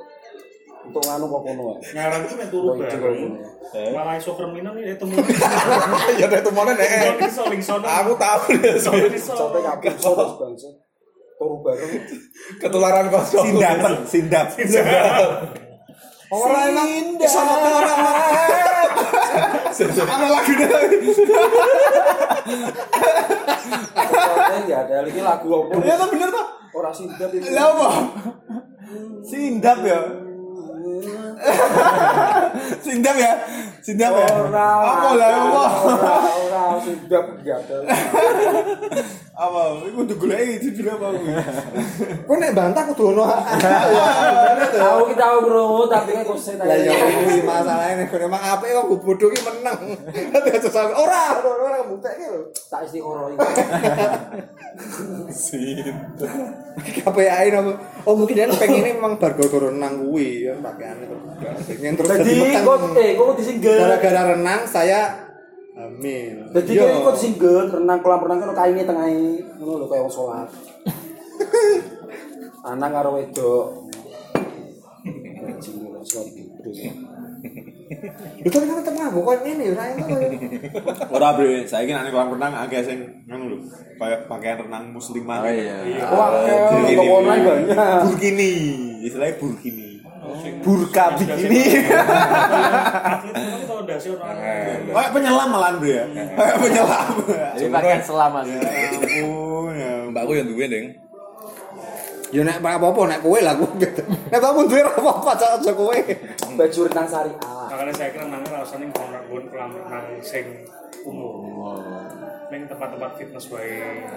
[SPEAKER 4] untuk anu kok kono ya.
[SPEAKER 3] ngarang itu yang turu
[SPEAKER 4] Oh, itu
[SPEAKER 3] bareng
[SPEAKER 2] Eh.
[SPEAKER 3] malah iso kreminan ya temu
[SPEAKER 2] ya udah itu mana nek
[SPEAKER 3] iso ling sono
[SPEAKER 2] aku tahu ya so.
[SPEAKER 3] Sono iso.
[SPEAKER 4] Sampai kabeh sotos bangsa. Turu bareng.
[SPEAKER 2] ketularan kosong
[SPEAKER 1] Sindapen, sindap.
[SPEAKER 6] orang emang bisa ngotong orang
[SPEAKER 2] ada lagi deh
[SPEAKER 4] Soalnya ya ada lagi lagu opo.
[SPEAKER 1] Ternyata Iya bener tuh.
[SPEAKER 4] Ora sindap itu.
[SPEAKER 1] Lah apa? Sindap ya. Sindap ya. Sindap ya.
[SPEAKER 4] Ora.
[SPEAKER 1] Apa lah apa?
[SPEAKER 4] Ora ora sindap gak ada.
[SPEAKER 1] Apa? Iku kudu goleki judul apa kuwi.
[SPEAKER 6] kok nek bantah aku dulu
[SPEAKER 4] Tahu kita tahu bro, tapi kan kok saya
[SPEAKER 6] Lah
[SPEAKER 1] iya,
[SPEAKER 6] ya
[SPEAKER 4] tanya.
[SPEAKER 6] kuwi masalahnya nek emang apike wong bodho ki meneng. Dadi aja sampe ora ora ora mbutek lho.
[SPEAKER 4] Tak isi koroi.
[SPEAKER 6] KPAI nopo. Oh mungkin dia pengennya memang bar gara-gara renang kuwi ya pakaiane kok. Pengen terus
[SPEAKER 4] Jadi
[SPEAKER 6] jadi
[SPEAKER 4] kok
[SPEAKER 6] meneng.
[SPEAKER 4] eh kok disinggel.
[SPEAKER 6] Gara-gara renang saya hamil. Iya.
[SPEAKER 4] Jadi
[SPEAKER 6] Yo.
[SPEAKER 4] kan ikut singgel, renang kolam renang kan kainnya tengahi, ngono lho kayak wong sholat. Anak karo wedok. Anjing lho sholat gitu.
[SPEAKER 6] Lho tapi kan tetep mabuk kok ngene ora entuk.
[SPEAKER 1] Ora bre, saiki nek ning kolam renang akeh sing ngono lho. Kayak pakaian renang muslimah.
[SPEAKER 7] oh iya
[SPEAKER 4] Wah,
[SPEAKER 1] jadi
[SPEAKER 4] kok
[SPEAKER 1] ini.
[SPEAKER 4] online banyak.
[SPEAKER 1] Burkini, istilahnya burkini.
[SPEAKER 3] burka
[SPEAKER 1] begini.
[SPEAKER 3] atlet kan tau ndase ora
[SPEAKER 1] Kayak penyelam malan bre ya. Kayak penyelam.
[SPEAKER 7] jadi pakai selamat
[SPEAKER 1] Ya ampun, ya ampun.
[SPEAKER 2] mbakku yang duwe ding
[SPEAKER 6] Yo nek apa-apa nek kowe lah kowe. Nek apa duwe ora apa-apa cak aja kowe.
[SPEAKER 4] Baju renang syariah.
[SPEAKER 3] makanya saya kira nang rasane nggon kolam renang sing umum ning tempat-tempat fitness wae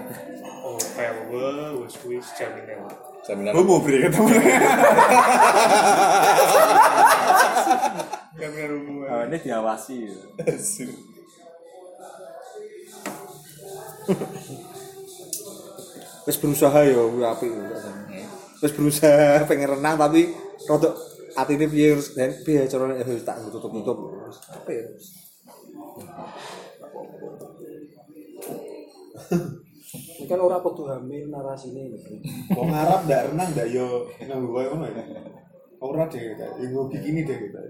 [SPEAKER 3] hotel wae wis kuwi jaminan
[SPEAKER 2] jaminan
[SPEAKER 1] Lu mau beri ketemu.
[SPEAKER 3] jaminan umum
[SPEAKER 7] oh, ini diawasi
[SPEAKER 6] Wis berusaha ya kuwi apik. Wis berusaha pengen renang tapi rodok atine piye harus dan piye carane harus tak tutup-tutup. Apa ya?
[SPEAKER 4] Ini kan orang waktu hamil narasinya ini.
[SPEAKER 1] Wong Arab ndak renang ndak yo nang gue ngono ya. Ora deh, inggo bikini deh Ya, kita.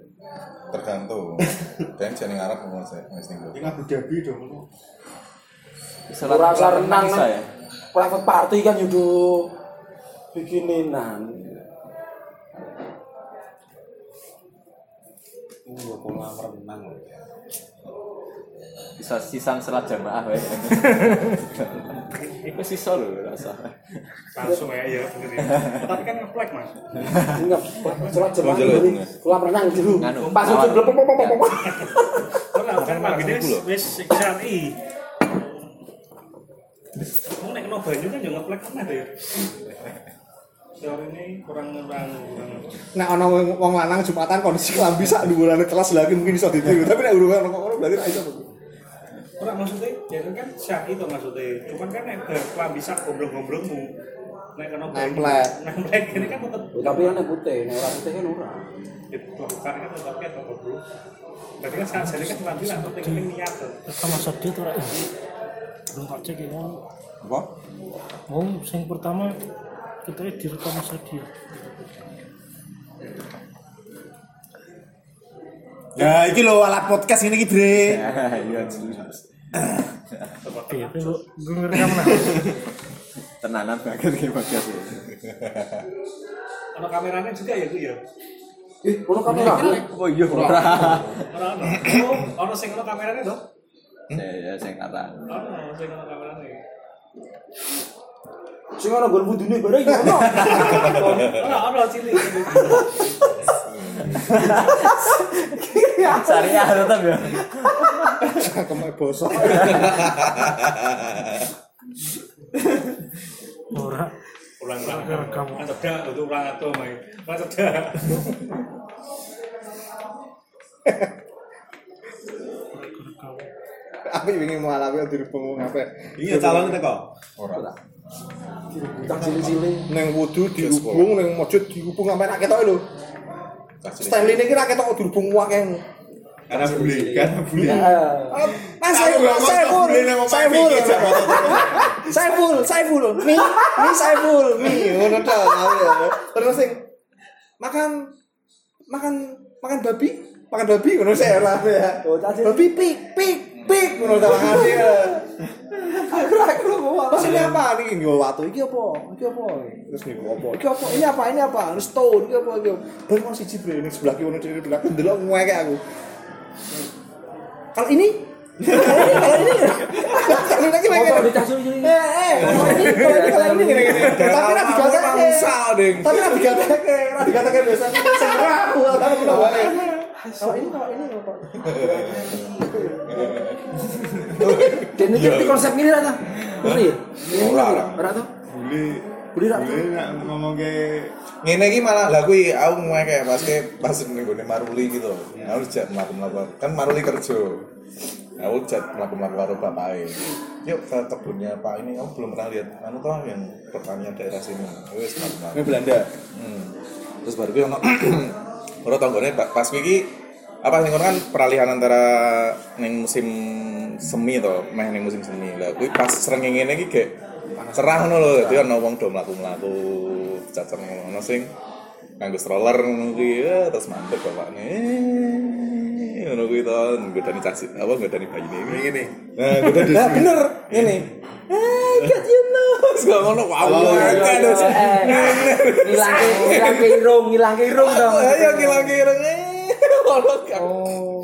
[SPEAKER 2] tergantung dan jeneng Arab ngomong saya wis ning
[SPEAKER 1] Ing Abu Dhabi dong ngono.
[SPEAKER 4] Orang
[SPEAKER 7] Sholat
[SPEAKER 4] renang
[SPEAKER 7] bisa
[SPEAKER 4] kan
[SPEAKER 7] ya
[SPEAKER 4] private party kan yudo bikininan.
[SPEAKER 1] Nggo kolam ya, renang lho.
[SPEAKER 7] bisa sisan selat jamaah wae Iku sisa lho rasa.
[SPEAKER 3] langsung ya ya bener ya tapi kan ngeplek mas
[SPEAKER 4] Ingat, sholat jemaah
[SPEAKER 2] Jelek.
[SPEAKER 4] ini, kolam renang dulu.
[SPEAKER 7] Nganu,
[SPEAKER 4] Pas
[SPEAKER 7] awan.
[SPEAKER 4] itu blepok-pok-pok-pok.
[SPEAKER 3] Ora kan magine wis sing syar'i. Wong nek kena banyu kan yo ngeplek kan ada ya. Teori ini kurang-kurang kurang.
[SPEAKER 6] Nek ana wong wong lanang Jumatan kondisi klambi sak dhuwurane kelas lagi mungkin iso ditiru, tapi nek urungan kok ngono berarti ra iso.
[SPEAKER 3] Ora maksudnya, ya kan syar'i to maksudnya. Cuman kan nek kelambi sak gomblong-gomblongmu. Nek kena
[SPEAKER 1] Nemplek.
[SPEAKER 3] Nemplek ini kan tetep
[SPEAKER 4] Oh, tapi ana putih, nek ora putih kan ora.
[SPEAKER 3] dilakukan kan tetep ya tetep dulu. Berarti kan saat jadi kan nanti lah penting penting niat. tuh.
[SPEAKER 8] pertama sedih tuh rakyat belum tak cek ya
[SPEAKER 2] apa
[SPEAKER 8] oh yang pertama kita direkam sedih
[SPEAKER 9] Ya, iki lho alat podcast ini iki, Bre.
[SPEAKER 2] iya jelas
[SPEAKER 8] ya
[SPEAKER 4] Iya.
[SPEAKER 8] itu lu gue ngerekam lah
[SPEAKER 2] tenanan banget kayak
[SPEAKER 7] Iya,
[SPEAKER 2] bagas ya.
[SPEAKER 3] Ada kameranya juga ya Bu, ya.
[SPEAKER 1] Eh,
[SPEAKER 4] Ih, ono
[SPEAKER 1] kan ya?
[SPEAKER 4] kamera.
[SPEAKER 2] oh iya ora
[SPEAKER 3] Orang ada. Oh, orang sing ada kameranya dong.
[SPEAKER 2] ya ya
[SPEAKER 7] iya,
[SPEAKER 2] saya kata
[SPEAKER 3] Orang sing ada kameranya.
[SPEAKER 4] Sing ana gon budune bareng ya ono.
[SPEAKER 3] Orang orang cilik.
[SPEAKER 7] Syariah tetap ya.
[SPEAKER 1] kemek bosok
[SPEAKER 8] ora
[SPEAKER 3] Orang orang
[SPEAKER 8] Rekam.
[SPEAKER 3] Orang cedak itu orang atau main. Orang cedak.
[SPEAKER 1] aku ingin
[SPEAKER 6] ya,
[SPEAKER 1] mengalami diri pengung apa
[SPEAKER 9] Iya, calon teko.
[SPEAKER 2] ora
[SPEAKER 4] Tak cilik-cilik.
[SPEAKER 1] neng wudu dihubung neng masjid dihubung sampai rakyat tau lho Stanley ini kira ketok dihubung wakeng
[SPEAKER 9] Karena beli, karena beli.
[SPEAKER 1] Ya.
[SPEAKER 2] Iya.
[SPEAKER 4] Heeh.
[SPEAKER 1] Mas saya saya full saya full saya full saya full mi mi saya full mi ngono tok aku ya. terus sing makan makan makan babi makan babi ngono saya lah ya
[SPEAKER 4] Oh, tadi.
[SPEAKER 1] babi pik pik pik ngono tok aku ya
[SPEAKER 4] Aku lu bawa.
[SPEAKER 1] Mas ini apa nih? Yo watu iki apa? Iki apa? Terus niku apa? Iki apa? Ini apa? Ini apa? Terus tahun iki apa? Iki apa? Baru mau siji bro ini sebelah kiri ini sebelah kiri delok ngewek aku. Kalau ini kalau ini kalau ini kalau
[SPEAKER 4] Foto
[SPEAKER 1] ini
[SPEAKER 4] dicah cilik.
[SPEAKER 1] Eh, eh, kalau ini, kalau ini, kalau ini, gini, gini. Tapi nabi gata Tapi nabi gata ke, nabi gata ke biasanya serah aku, tapi aku tahu aja. Kalau ini, kalau ini, kalau
[SPEAKER 4] Dan ini ngerti konsep ini rata. Ngerti
[SPEAKER 1] Iya.
[SPEAKER 4] ya?
[SPEAKER 2] Ora, ora.
[SPEAKER 4] Ora tuh.
[SPEAKER 9] Beli.
[SPEAKER 4] Beli ra?
[SPEAKER 9] Beli nak ngomong ke
[SPEAKER 2] ngene iki malah lah kuwi aku ngene kayak pas ke- pas ning gone Maruli gitu. Aku dijak mlaku-mlaku. Kan Maruli kerja. Aku dijak mlaku-mlaku karo bapake. Yuk ke kebunnya Pak ini kamu belum pernah lihat anu toh yang pertanian daerah sini. Wis mlaku-mlaku.
[SPEAKER 1] ini Belanda.
[SPEAKER 2] Hmm. Terus baru gue ono Baru tanggone ba- pas gue iki apa sing kono kan peralihan antara ning musim semi to, meh ning musim semi. Lah kuwi pas srengenge iki gek cerah ngono lho. Dadi ono wong do mlaku-mlaku cacer ngono sing nganggo stroller ngono kuwi ya, terus mandek bapakne. Eh, Ngono kuwi to, ngodani casit apa ngodani bayine ngene. Nah, ngodani. Nah, bener ngene. Eh, get you know. Terus gak ngono wow.
[SPEAKER 4] Oh,
[SPEAKER 2] akeh terus.
[SPEAKER 4] Ngilangke, ngilangke irung, ngilangke irung dong.
[SPEAKER 2] Ayo eh. ngilang-ngilang Ngolot kan
[SPEAKER 4] Oh.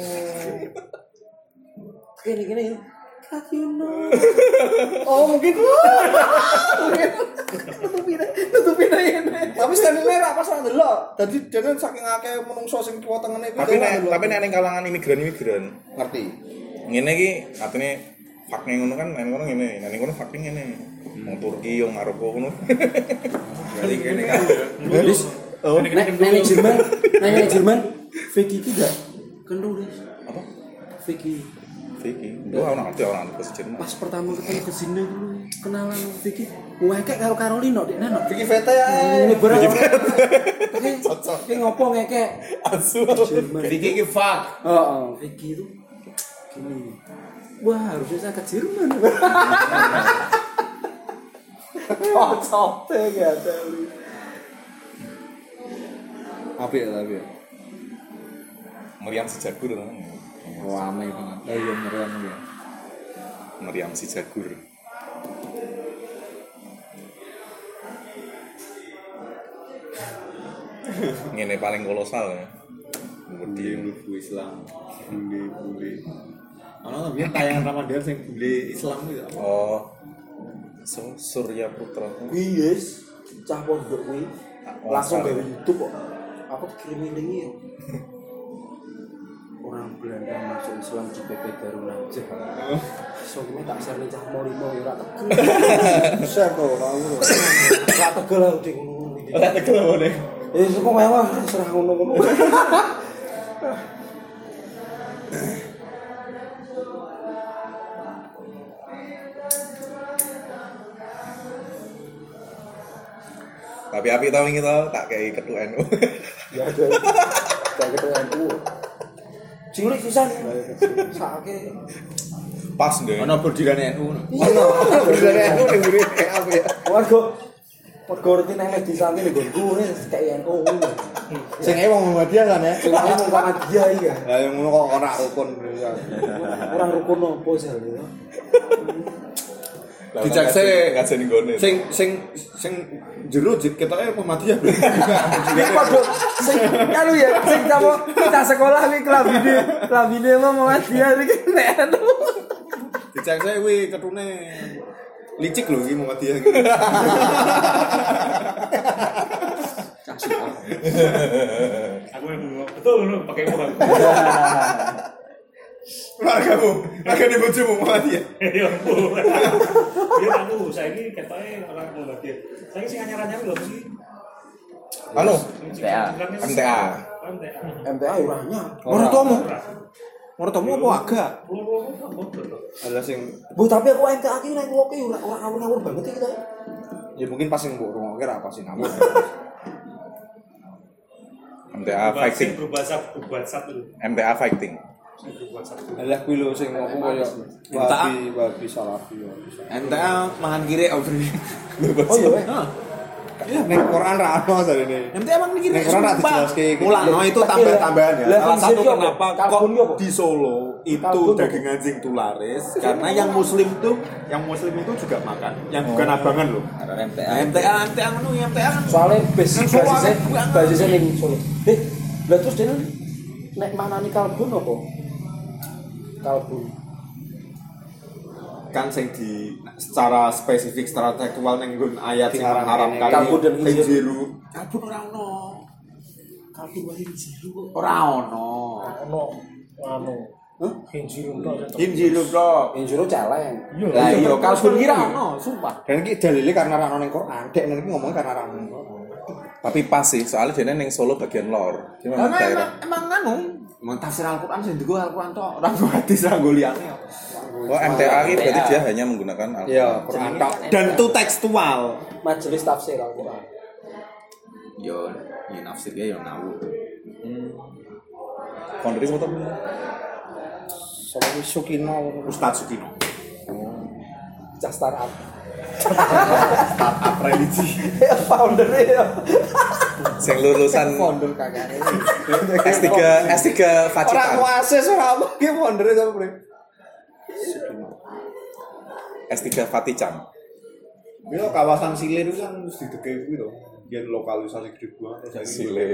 [SPEAKER 4] Gini gini. Cut you know.
[SPEAKER 1] Oh mungkin Mungkin.
[SPEAKER 4] Tutupin aja, tutupin aja.
[SPEAKER 1] Tapi Stanley merah pas nang delok. Dadi dene saking akeh menungso sing kiwa tengene iku
[SPEAKER 2] Tapi
[SPEAKER 1] dhewe
[SPEAKER 2] nek
[SPEAKER 1] nang delok.
[SPEAKER 2] tapi nek ning kalangan imigran-imigran
[SPEAKER 1] ngerti.
[SPEAKER 2] ngene iki atine fakne ngono kan nek ngono ngene nek ngono fakne ngene
[SPEAKER 4] Hmm.
[SPEAKER 2] wong Turki wong Maroko ngono Jadi ngene kan
[SPEAKER 4] Nulis. Nek nek Jerman, nek nek Jerman, Vicky itu gak kenulis.
[SPEAKER 2] apa
[SPEAKER 4] Vicky
[SPEAKER 2] Vicky gua ora ngerti ora ngerti bahasa Jerman
[SPEAKER 4] pas pertama ketemu ke sini dulu kenalan Vicky, wah kayak karo Carolina dek nana.
[SPEAKER 1] Vicky Vete ya.
[SPEAKER 4] Ini barang. Ini ngopo ngekek.
[SPEAKER 2] asu
[SPEAKER 4] Jerman.
[SPEAKER 9] Vicky iki fuck.
[SPEAKER 4] Oh, oh, Vicky itu gini. Wah, harusnya saya ke Jerman. Kocok deh ya, Deli.
[SPEAKER 1] Apik ya tapi.
[SPEAKER 2] meriam si jagur kan?
[SPEAKER 1] Wame banget. Ya iya meriam ya.
[SPEAKER 2] meriam si jagur ngene paling kolosal ya Wedi.
[SPEAKER 9] lugu Islam. Bule bule. Ana tapi tayangan Ramadan sing bule Islam itu apa?
[SPEAKER 2] Oh. So, Surya Putra.
[SPEAKER 4] Iya, yes. cah pondok kuwi langsung gawe YouTube kok. Aku kirim ini ya. Orang Belanda masuk Islam di PP Garuna. So, gue tak share nih cah mori mau ya rata
[SPEAKER 1] Share kok kamu.
[SPEAKER 4] Ora tegel aku ding ngono.
[SPEAKER 2] Ora tegel ngene.
[SPEAKER 4] Eh, kok mewah serah ngono-ngono.
[SPEAKER 2] Tapi api tau wingi tau tak kei anu. ketua NU.
[SPEAKER 4] ya ada kayak gitu aku cilik pisan sakake
[SPEAKER 2] Pas deh.
[SPEAKER 1] Ono bordiran NU.
[SPEAKER 4] iya
[SPEAKER 6] Bener aku ning mburi apa ya?
[SPEAKER 4] warga warga rutin nek di santri lho gue kayak NU
[SPEAKER 6] Sing ae wong Muhammadiyah kan ya.
[SPEAKER 4] cuma mau sama dia iya
[SPEAKER 6] Lah yang ngono kok ora rukun.
[SPEAKER 4] orang rukun nopo sih gitu
[SPEAKER 1] Dicek sih.
[SPEAKER 2] Kaca nih gone.
[SPEAKER 1] Sing sing sing jero jit ketoke Muhammadiyah.
[SPEAKER 4] ini padha sing kan ya sing kamu kita sekolah iki kelabine kelabine mau mau dia iki nek NU
[SPEAKER 1] Dicek sih kuwi ketune licik lho iki Muhammadiyah.
[SPEAKER 3] Aku yang bingung. Betul loh, pakai uang.
[SPEAKER 1] Ragamu, raga di bojomu Muhammadiyah.
[SPEAKER 3] Ya ampun. Ya aku saya ini katanya orang mau lagi. Saya ini sih anyar-anyar loh sih.
[SPEAKER 2] Anu,
[SPEAKER 7] MTA.
[SPEAKER 2] MTA.
[SPEAKER 3] MTA.
[SPEAKER 4] MTA orangnya
[SPEAKER 1] Ora tuamu. Ora tuamu apa agak?
[SPEAKER 3] Lu lu lu.
[SPEAKER 6] Ada sing
[SPEAKER 4] bu tapi aku MTA iki nek ngoke ora ora awur-awur banget iki kita
[SPEAKER 6] ya mungkin pas sing mbok rungokke ra apa sing apa.
[SPEAKER 2] MTA fighting.
[SPEAKER 3] Berbahasa berbahasa dulu.
[SPEAKER 2] MTA fighting.
[SPEAKER 3] Sing Berbahasa.
[SPEAKER 6] Lah kuwi lho sing aku koyo wabi wabi salafi ya.
[SPEAKER 1] MTA mangan kiri Aubrey.
[SPEAKER 4] oh iya eh.
[SPEAKER 6] Ning Quran ra ono sarene.
[SPEAKER 1] MTA mangan kiri.
[SPEAKER 6] Nek ora tak
[SPEAKER 1] sumpah.
[SPEAKER 6] dijelaske iki.
[SPEAKER 1] Mulakno itu tambah-tambahan ya.
[SPEAKER 4] Lah,
[SPEAKER 1] Salah satu
[SPEAKER 4] fungsi apa?
[SPEAKER 1] kenapa kok
[SPEAKER 4] Karbon apa?
[SPEAKER 1] di Solo itu
[SPEAKER 4] Karbon apa?
[SPEAKER 1] daging anjing tuh laris karena yang muslim tuh yang muslim itu juga makan, yang bukan abangan loh.
[SPEAKER 7] MTA.
[SPEAKER 1] Nah, MTA MTA ngono ya, MTA kan
[SPEAKER 4] soalnya basis
[SPEAKER 1] Solo
[SPEAKER 4] basisnya
[SPEAKER 1] akeh banget.
[SPEAKER 4] basisnya ning Solo eh lah terus dia nek mana nih kalbun apa kalbun
[SPEAKER 1] kan sing di secara spesifik secara tekstual ning nggon ayat sing
[SPEAKER 6] Diharamkan.
[SPEAKER 1] mengharamkan
[SPEAKER 4] Kabut dan
[SPEAKER 1] sing
[SPEAKER 4] hijau.
[SPEAKER 1] jeru. Kabut ora ono. Kabut wae jeru ora ono.
[SPEAKER 8] ono anu hinjir untuk
[SPEAKER 1] Jin jeru bro.
[SPEAKER 4] yang juru celeng
[SPEAKER 1] Lah iya kabut kira ono, sumpah.
[SPEAKER 6] Dan iki dalile karena ra ono ning Quran. Dek nek iki ngomong karena ra ono ning Quran.
[SPEAKER 2] Tapi pas sih, soalnya dia neng Solo bagian lor. Dia memang
[SPEAKER 1] Karena emang
[SPEAKER 2] daerah.
[SPEAKER 1] emang anu Emang tafsir Al-Quran sing digo Al-Quran tok, ora nggo hadis ora nggo liyane.
[SPEAKER 2] Oh MTA ini berarti dia hanya menggunakan Al-
[SPEAKER 6] Iya, Quran tok.
[SPEAKER 1] Dan itu tekstual.
[SPEAKER 4] majelis tafsir Al-Quran
[SPEAKER 1] Yo, yo nafsir ya yo ngawur.
[SPEAKER 2] Founder itu apa?
[SPEAKER 6] Sopo Sukino
[SPEAKER 1] Ustaz Sukino.
[SPEAKER 4] cah startup
[SPEAKER 1] Startup religi.
[SPEAKER 4] founder ya
[SPEAKER 2] Yang lulusan
[SPEAKER 6] founder kakaknya.
[SPEAKER 2] S3 S3
[SPEAKER 6] Ora
[SPEAKER 2] Pacitan.
[SPEAKER 6] kuases ora apa ki founder sapa bre.
[SPEAKER 2] S3 Fatican.
[SPEAKER 6] Milo kawasan Silir itu kan harus dideke kuwi to. Yen lokalisasi gede banget ya.
[SPEAKER 2] Silir.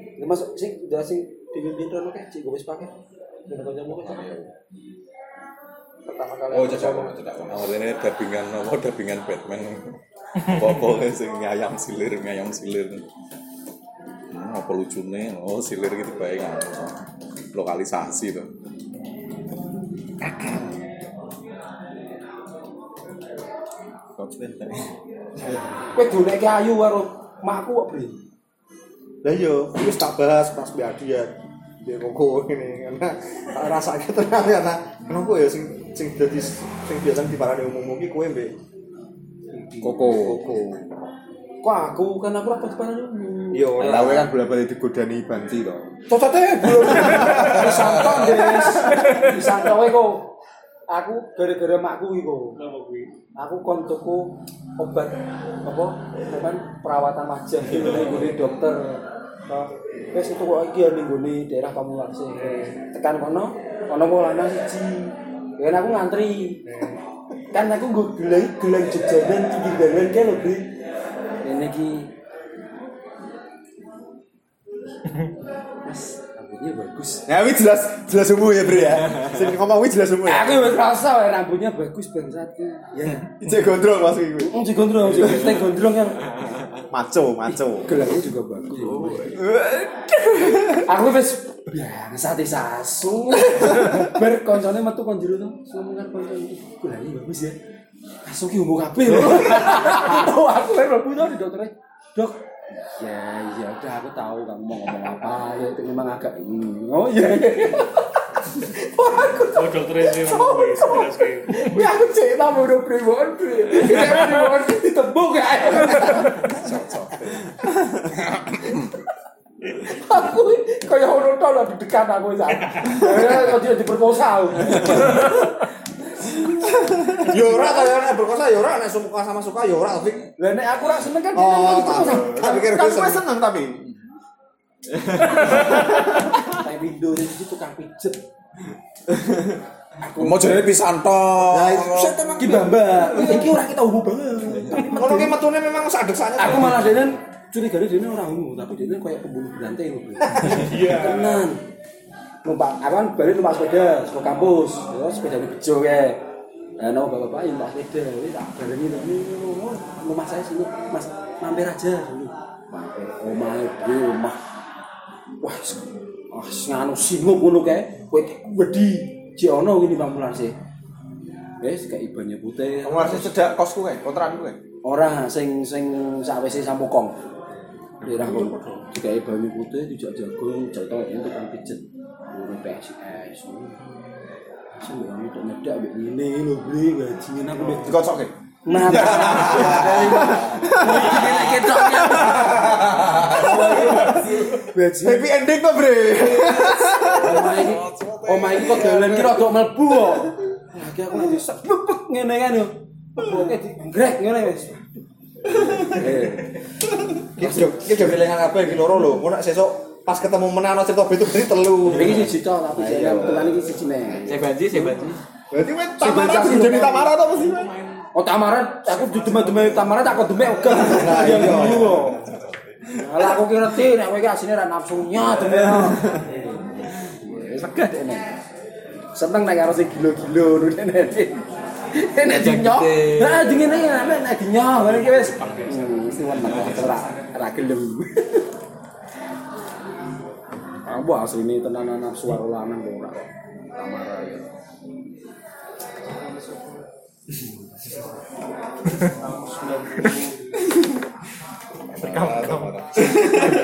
[SPEAKER 4] ini masuk sing udah sing dipimpin Rono kayak cik gue wis pakai dan kau jamu kan pertama kali aku jamu.
[SPEAKER 2] Oh, ini dabingan apa dabingan Batman. Pokoknya sing ngayam silir, ngayam silir. Hmm, apa lucune? Oh, silir gitu baik Lokalisasi tuh.
[SPEAKER 4] Kowe dulu kayak ayu karo makku kok beli
[SPEAKER 6] Lah yo, wis tak bahas pas biadi ya. Dia kok ini karena rasanya tenang ya nah. Kenapa ya sing sing dadi sing biasa diparani umum iki kowe mbek
[SPEAKER 1] Koko.
[SPEAKER 4] kok aku kan aku rapat pada dulu
[SPEAKER 6] Yo
[SPEAKER 1] Lah kowe kan bola-bali digodani banci to.
[SPEAKER 4] Cocotnya belum disantau guys disantau kok aku gara-gara makku iku
[SPEAKER 3] Nama gue.
[SPEAKER 4] aku kon tuku obat apa kan perawatan wajah di nggone dokter Nah, wis itu kok iki ya ning nggone daerah Pamulang sih tekan kono kono kok lanang siji kan aku ngantri eh. kan aku nggo gelang gelang jejanan tinggi gelang kayak lho Bi. ini ki Mas, rambutnya bagus.
[SPEAKER 6] Ya wis jelas jelas umum ya bre ya. Sing ngomong wis jelas umum ya.
[SPEAKER 4] Aku wis rasa wae rambutnya bagus bangsat ki. Ya.
[SPEAKER 6] Ijek gondrong pas iki.
[SPEAKER 4] Wong digondrong, sing mesti gondrong kan.
[SPEAKER 1] Maco, maco.
[SPEAKER 4] gelangnya juga bagus aku wis biasa di sasu bar koncone metu kon jero tuh sumber koncone gelangnya bagus ya asu ki umbo kabeh lho oh aku bar mlebu tuh di dokternya dok ya ya udah aku tahu kamu mau ngomong apa ya itu memang agak ini oh iya
[SPEAKER 3] Oh, dokter ini ngomong wis jelas kayak.
[SPEAKER 4] Ya aku cerita mau udah priwon priwon ditembung ya. Aku kaya ono to lho dedekan aku sak. Ya kok dia diperkosa. aku.
[SPEAKER 6] Yo Ya ora kaya nek berkosa yo ora nek suka sama suka yo ora tapi
[SPEAKER 4] Lah nek aku ra seneng kan dia kan
[SPEAKER 6] Oh,
[SPEAKER 4] diperkosa.
[SPEAKER 6] tak pikir
[SPEAKER 1] Kan
[SPEAKER 6] gue
[SPEAKER 1] gue
[SPEAKER 6] seneng.
[SPEAKER 1] seneng tapi.
[SPEAKER 4] Tapi window itu tukang pijet.
[SPEAKER 2] Mau jadi pisan
[SPEAKER 6] Lah,
[SPEAKER 2] tok.
[SPEAKER 6] set emang
[SPEAKER 4] Ki Bamba, iki ora kita hubung banget.
[SPEAKER 6] ngono ki metune memang sadek sakne.
[SPEAKER 4] Aku malah dene curiga dene ora ungu, tapi dene kayak pembunuh berantai lho.
[SPEAKER 3] Iya.
[SPEAKER 4] tenan numpak aku kan balik numpak sepeda sepeda kampus ya sepeda ini bejo ya nah nama bapak-bapak yang numpak sepeda ini tak barengin ini ngomong, rumah saya sini mas mampir aja dulu mampir omah di rumah wah s- wah nganu singgup ngono kae kowe wedi jek ono ngene pamulan sih wis gak ibane putih
[SPEAKER 1] Kamu harus cedak kosku kan, kontraku kan.
[SPEAKER 4] ora sing sing sakwise samukong daerah kono dikai banyu putih dijak jagung jatuh itu kan pijet ngurung PSIS sing ora metu nyedak mbek ngene lho beli gajine aku mbek
[SPEAKER 1] Dikocok kan.
[SPEAKER 4] nah kene ketoknya gajine
[SPEAKER 6] Happy ending kok, Bre.
[SPEAKER 4] omah iki omah iki kok dalan ki rada mlebu kok lagi aku nanti sepepek ngene kan yo Oke, digrek ngene wis. Eh,
[SPEAKER 6] Ki yo ki yo pilihan kabeh iki loro lho. Ngono nek sesuk pas ketemu menano cerita itu berarti telu.
[SPEAKER 4] Iki siji tok tapi jeneng kebetulan iki siji neh.
[SPEAKER 7] Saya banji, saya banji.
[SPEAKER 6] Berarti wis
[SPEAKER 4] Sebentar,
[SPEAKER 6] tamara
[SPEAKER 4] sebentar.
[SPEAKER 6] jadi tamara apa sih?
[SPEAKER 4] Oh tamaran, aku dudem-dudem tamaran tak kok demek uga.
[SPEAKER 6] Nah, iya.
[SPEAKER 4] Lah aku ki ngerti nek kowe iki asline ra nafsunya demek.
[SPEAKER 6] Iya.
[SPEAKER 4] Wis Segat ini. Seneng nek karo sing gilo-gilo ngono nek. Nek dinyok. Nah, dingene ya nek nek dinyok ngene iki wis.
[SPEAKER 6] iya.
[SPEAKER 4] Hmm, Mesti weneng ora ora gelem. Aku asline tenanan nafsu karo lanang kok ora. Tamara ya.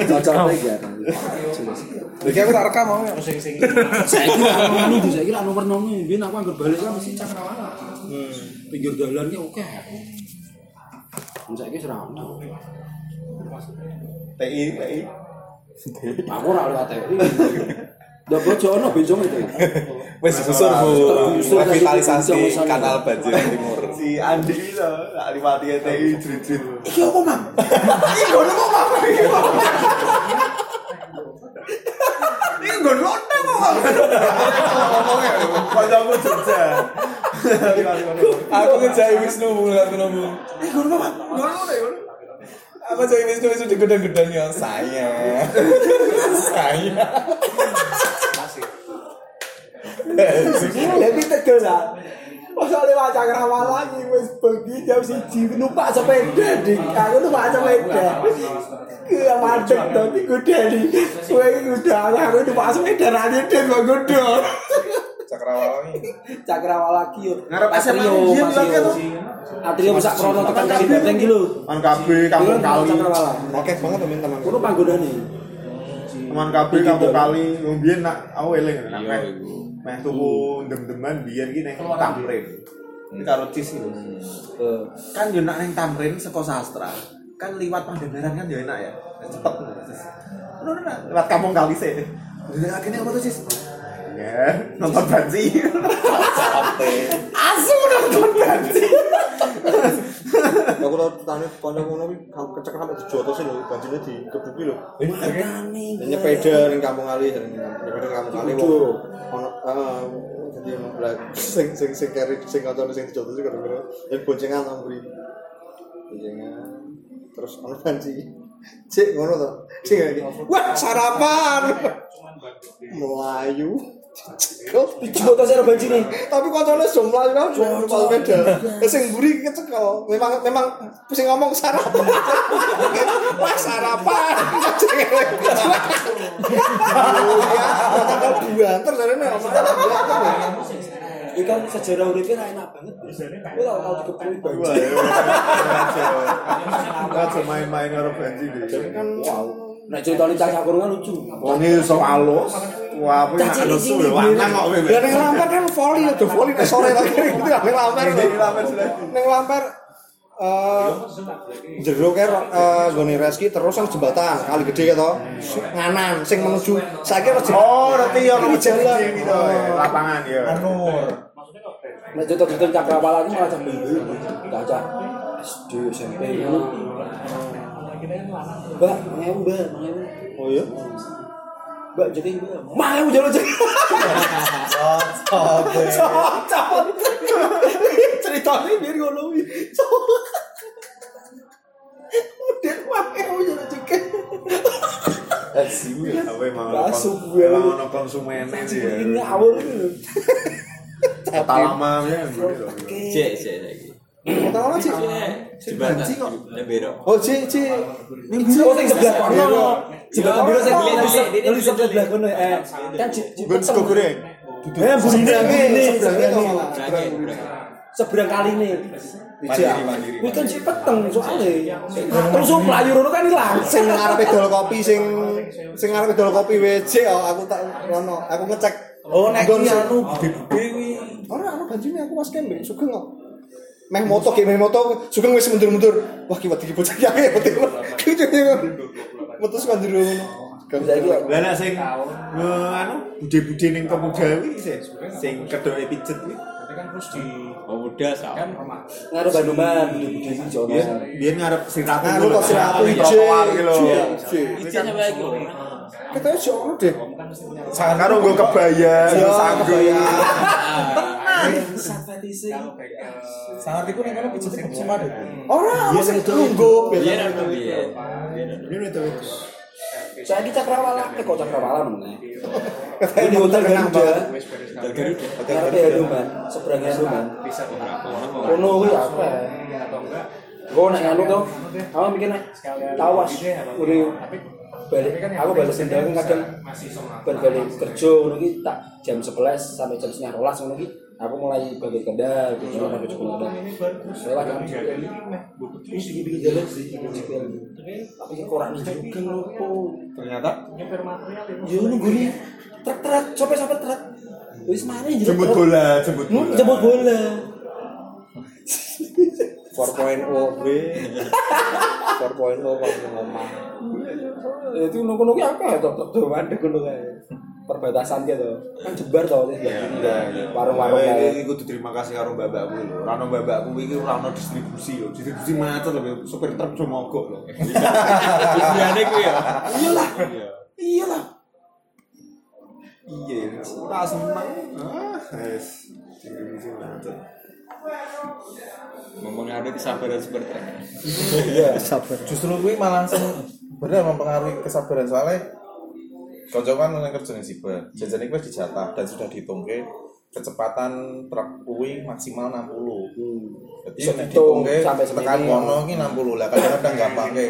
[SPEAKER 4] Cocok iki ya.
[SPEAKER 2] Iki aku tak rekam mau. ya.
[SPEAKER 3] Sing sing
[SPEAKER 4] saya kira nomor nunggu saya kira nomor nunggu biar aku angker balik kan mesti cakrawala pinggir jalan ki oke saya kira serang
[SPEAKER 1] TI, TI.
[SPEAKER 4] aku ora lewat TV Ndak bojo ono bencong itu.
[SPEAKER 2] Wis susur Bu.
[SPEAKER 4] Tergusur tadi bencong
[SPEAKER 2] Revitalisasi
[SPEAKER 4] misalnya.
[SPEAKER 2] kanal banjir timur.
[SPEAKER 1] Si Andi lah, tak liwati TI jerit-jerit.
[SPEAKER 4] Iki apa, Mam?
[SPEAKER 1] Ini gue nonton kok. Ngomongnya, pada aku Jogja.
[SPEAKER 2] Aku ngejai Wisnu mulai aku nemu. Eh guru Pak, guru Aku jadi Wisnu Wisnu digedang-gedang ya saya. Saya.
[SPEAKER 4] Tapi tegas lah. Pas oleh wajah kerawala lagi wis bengi jam siji numpak sepeda dik. Aku numpak sepeda. Ke madep to iki gede di. Suwe iki gede aku numpak sepeda ra nyedek kok gede.
[SPEAKER 2] Cakrawala ini.
[SPEAKER 4] Cakrawala ki yo.
[SPEAKER 1] Ngarep
[SPEAKER 4] Atrio,
[SPEAKER 1] SMA dia
[SPEAKER 4] Mas
[SPEAKER 1] bilang
[SPEAKER 4] Yo.
[SPEAKER 1] gitu.
[SPEAKER 4] Atrio sak krono tekan kali beteng ki lho.
[SPEAKER 1] Teman KB, kampung kali.
[SPEAKER 4] Cakrawala.
[SPEAKER 6] Oke banget temen teman.
[SPEAKER 4] Kulo panggonane.
[SPEAKER 1] Teman KB, kampung kali. Wong biyen nak aku eling nak
[SPEAKER 2] Iya,
[SPEAKER 1] meh.
[SPEAKER 2] ibu.
[SPEAKER 1] Meh tuku ndem-ndeman biyen ki nang Tamrin. Ini karo cis gitu. Kan yo nak nang Tamrin seko sastra. Kan liwat Pangandaran kan yo enak ya. Cepet. Cis. Lho, lho, lho, Lewat kampung kali sih. Jadi akhirnya apa tuh cis? Ya, nonton banci. Asu nonton banci.
[SPEAKER 6] Aku tau tane kanca ngono kuwi kecekel sampe dijoto sih lho, banjine dikebuki lho. Nyepeda ning kampung kali jarene nyepeda ning kampung kali wong ono eh, jadi ono lah sing sing sing keri sing kancane sing dijoto sih gara-gara yang boncengan nang mburi. Boncengan terus ono banci. Cek ngono to. Cek lagi. Wah, sarapan. Melayu. Kok
[SPEAKER 4] Coba tas banci nih.
[SPEAKER 6] tapi koncone jumlah juga jumlah beda Eh, sing buri kecekel memang memang sing ngomong sarapan wah sarapan Iya. ya kecekel dua terus ada nih omong sarapan dua apa nih?
[SPEAKER 4] Ikan sejarah uripnya ra enak banget. Kuwi lho tau dikepung banci.
[SPEAKER 1] Aja main-main karo banci deh.
[SPEAKER 6] wow
[SPEAKER 4] Nek ceritane cah sakurungan lucu.
[SPEAKER 1] Wong ini so alus. Wah, aku yang
[SPEAKER 4] Caci
[SPEAKER 1] anu suwe
[SPEAKER 4] cilik
[SPEAKER 1] wangan kok kowe.
[SPEAKER 6] Ya ning Lampar kan volley ya, do volley nek sore lagi gitu ya ning Lampar. lho. Ning Lampar eh jero ke eh, nggone Reski terus yang jembatan kali gede ya to. Nganan sing menuju saiki ono jembatan.
[SPEAKER 1] Oh, nanti ya ono jalan gitu ya,
[SPEAKER 6] Oh.
[SPEAKER 1] lapangan ya.
[SPEAKER 4] Nek cerita-cerita cakrawala itu malah sampai dulu. Baca SD, SMP. ngono. Mbak, ngewu, Mbak, ngewu.
[SPEAKER 6] Oh iya.
[SPEAKER 4] Mbak, jadi Mbak. Mau jalan jadi. Cocok. Ceritanya biar ngono iki. Cocok. Udah mau jalan jadi.
[SPEAKER 1] Apa emang ono
[SPEAKER 4] Masuk
[SPEAKER 1] kon-
[SPEAKER 4] gue.
[SPEAKER 1] emang ono konsumennya sih ya.
[SPEAKER 4] Ini awal.
[SPEAKER 1] Kota lama ya.
[SPEAKER 7] Cek, cek lagi.
[SPEAKER 6] Kota lama sih.
[SPEAKER 7] Jembatan. Lembero.
[SPEAKER 6] Oh, Ci, Ci.
[SPEAKER 4] Oh, sing sebelah kono.
[SPEAKER 7] Jembatan biru saya beli beli.
[SPEAKER 4] Lalu sebelah kono eh kan di- di-
[SPEAKER 1] Gue sego goreng.
[SPEAKER 4] Eh, seberangnya ini, seberangnya
[SPEAKER 6] Seberangnya
[SPEAKER 4] ini. Seberang kali ini.
[SPEAKER 6] Ija.
[SPEAKER 4] Kuwi kan sih peteng soalnya. Terus yo mlayu rono kan ilang.
[SPEAKER 6] Sing ngarepe dol kopi sing sing ngarepe dol kopi WC oh, aku tak ono, aku ngecek.
[SPEAKER 4] Oh, nek
[SPEAKER 6] Nggon
[SPEAKER 4] iki
[SPEAKER 6] sing-
[SPEAKER 4] anu gede-gede kuwi.
[SPEAKER 6] Ora ana banjine aku pas kembe sugeng kok. Meh moto ki meh moto sugeng wis mundur-mundur. Wah ki wedi ki bocah ki akeh wedi. Ki Metu sing njero ngono.
[SPEAKER 1] Lah nek sing eh, anu bude-bude ning pemuda kuwi sih, sing kedoke pijet kuwi.
[SPEAKER 3] kan
[SPEAKER 7] Pemuda sama.
[SPEAKER 4] Ngarep Bandungan gede-gede iki jono.
[SPEAKER 1] Biyen biyen ngarep siratu.
[SPEAKER 6] Nah, lu kok siratu
[SPEAKER 1] Di
[SPEAKER 6] ije.
[SPEAKER 1] trotoar iki lho.
[SPEAKER 7] Ijen sampai lagi.
[SPEAKER 6] Kita yo ono deh.
[SPEAKER 3] Kan
[SPEAKER 1] Sangat karo nggo kebaya, nggo sanggul.
[SPEAKER 10] Sangat iku ning kono pijet iku cuma deh.
[SPEAKER 6] Ora ana sing lungguh.
[SPEAKER 7] Iya, aku iya.
[SPEAKER 4] Saya di Cakrawala, eh kok Cakrawala meneh. Ini di hotel Garuda,
[SPEAKER 7] Hotel Garuda.
[SPEAKER 4] ngarepe Hanuman, seberangnya Hanuman. Kono kuwi apa? Gue nek anu tuh, aku mikir nek tawas, udah balik. Aku balik sendiri kadang berbalik kerja, ngono ki tak jam 11 sampai jam setengah rolas ngono ki. Aku mulai balik kendal, gitu, sampai jam kendal. Lewat jam Tapi korak nih juga lho.
[SPEAKER 1] Ternyata
[SPEAKER 4] Ya nunggu nih truk-truk, sopir-sopir truk. Wis mari jadi
[SPEAKER 1] jemput
[SPEAKER 4] truk.
[SPEAKER 1] bola, jemput
[SPEAKER 4] Hmm,
[SPEAKER 1] bola.
[SPEAKER 4] jemput bola.
[SPEAKER 6] 4.0 bre. 4.0 kok ngomong.
[SPEAKER 4] Ya, Itu nunggu nunggu apa ya? Tok tok tok mandek ngono kae. Perbatasan dia tuh. Kan jebar tuh Warung-warung
[SPEAKER 1] Kowe
[SPEAKER 4] kae.
[SPEAKER 1] iki kudu terima kasih karo mbak-mbakku lho. Ora ono mbak-mbakku iki ora ono distribusi lho. Distribusi macet lho supir truk cuma mogok lho.
[SPEAKER 7] Tujuannya ku ya.
[SPEAKER 4] Iyalah. Iyalah.
[SPEAKER 1] Iya, ora seneng. Ah, wis. Distribusi macet.
[SPEAKER 7] Mempengaruhi kesabaran seperti itu.
[SPEAKER 10] Justru kuwi malah sing bener mempengaruhi kesabaran soalnya
[SPEAKER 2] Kocok kan yang kerja yang siber Jajan itu dijatah dan sudah dihitung Kecepatan truk kuwi maksimal 60
[SPEAKER 1] Hmm.
[SPEAKER 2] Jadi
[SPEAKER 1] Iya,
[SPEAKER 4] Bisa
[SPEAKER 2] yang
[SPEAKER 4] dihitung
[SPEAKER 2] dihitung ke
[SPEAKER 4] sampai
[SPEAKER 2] tekan
[SPEAKER 4] semene.
[SPEAKER 2] kono ini 60 lah Kadang-kadang gampang ke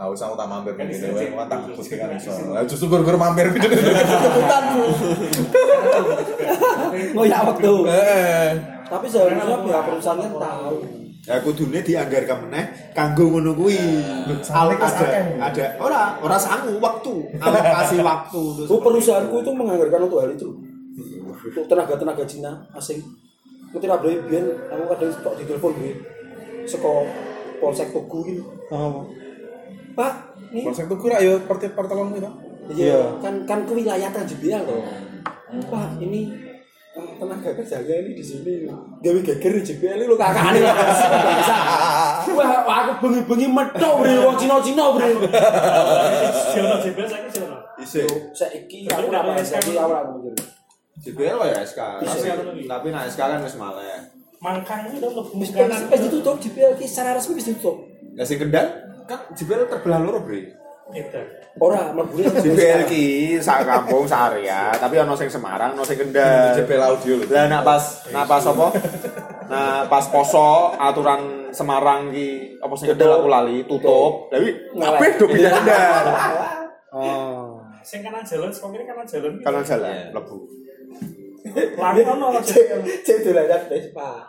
[SPEAKER 2] Ah, wis aku tak mampir ke ngene wae, wah, tak bus kan iso. Lah justru gur-gur mampir gitu.
[SPEAKER 4] Kebutan. Oh ya waktu. Tapi seharusnya pihak perusahaannya tahu.
[SPEAKER 1] Ya kudune dianggarkan meneh kanggo ngono kuwi. Al- Ada ada ora ora sangu waktu. Alokasi waktu. terus.
[SPEAKER 4] Oh, perusahaanku itu menganggarkan untuk hal itu. Untuk tenaga-tenaga Cina asing. Mungkin ada yang biar aku kadang kok ditelepon gue. Seko polsek Tugu gitu. Pak, ini
[SPEAKER 10] konsep tuh kurang ya seperti pertolongan gitu.
[SPEAKER 4] iya kan kan kewilayatan JBL loh. Pak, ini eh, tenaga kerja saya ini di sini gawe geger di JBL ini lo kakak ini biasa. Wah, aku bengi-bengi metok bre wong Cina-Cina bre.
[SPEAKER 3] Siono JBL saiki siono.
[SPEAKER 1] Isih.
[SPEAKER 4] Saiki aku ora mau jadi aku ora mau jadi.
[SPEAKER 1] JBL
[SPEAKER 7] ya
[SPEAKER 1] wae SK. Tapi tapi nek SK kan wis malah.
[SPEAKER 3] Mangkang itu udah
[SPEAKER 4] Wis
[SPEAKER 3] fungsi kanan.
[SPEAKER 4] wis ditutup JBL ki secara resmi wis ditutup.
[SPEAKER 1] Lah sing kendal kan JBL terbelah loro, Bre.
[SPEAKER 3] Edan.
[SPEAKER 4] Ora, mlebune
[SPEAKER 1] JBL ki sak kampung sak area, tapi ono sing Semarang, ono sing Kendal.
[SPEAKER 2] Jebel audio lho.
[SPEAKER 1] Lah nak pas nak pas apa? Nah pas poso aturan Semarang ki apa sing Kendal aku lali tutup. Lah wi kabeh do pindah Kendal. Oh,
[SPEAKER 3] Sing kanan jalan, sing kiri kanan jalan.
[SPEAKER 1] kanan
[SPEAKER 10] Iya.
[SPEAKER 1] jalan lebu.
[SPEAKER 4] 아,
[SPEAKER 3] Lari ono lah JBL.
[SPEAKER 4] Cek dolanan Vespa.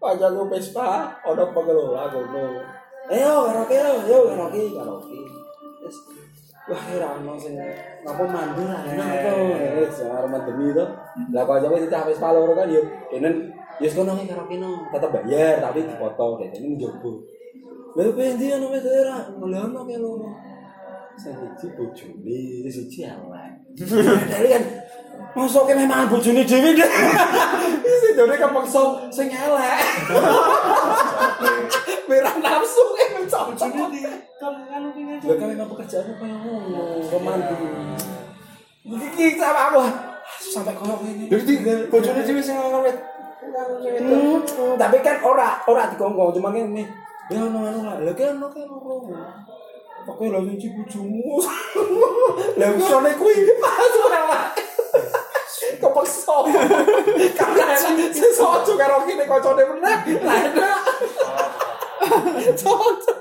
[SPEAKER 4] Pajak lu Vespa, ono Eh, pengelola gono. Ayo karaoke, ayo karaoke, karaoke. Terus wah ini rano sing ngapa mandu lah ya jar mandemi to lah kok sampe cah wis paloro kan yo denen yo sekono nang karo kene tetep bayar tapi dipotong deh ini njobo lha kowe ndi ana wis ora lha ana kene loro siji bojone siji awak dari kan masuk kene mangan bojone dhewe deh isi dhewe kepaksa sing elek merah nafsu eh mencocok
[SPEAKER 3] kan kan ini
[SPEAKER 4] Lah kan emang pekerjaannya kayak ngono, pemandu. Iki sama aku sampai koyo ngene.
[SPEAKER 6] Jadi bojone dhewe sing ngomong wit.
[SPEAKER 4] Hmm, hmm, tapi kan ora ora dikongkong cuma ngene. Ya ono anu lah. Lah kan ono kan loro. Pokoke lho nyuci bojomu. Lah usone kuwi masuk ora. Kepaksa. Karena enak, sesuatu karo kene kocone meneh. Lah enak. Cocok.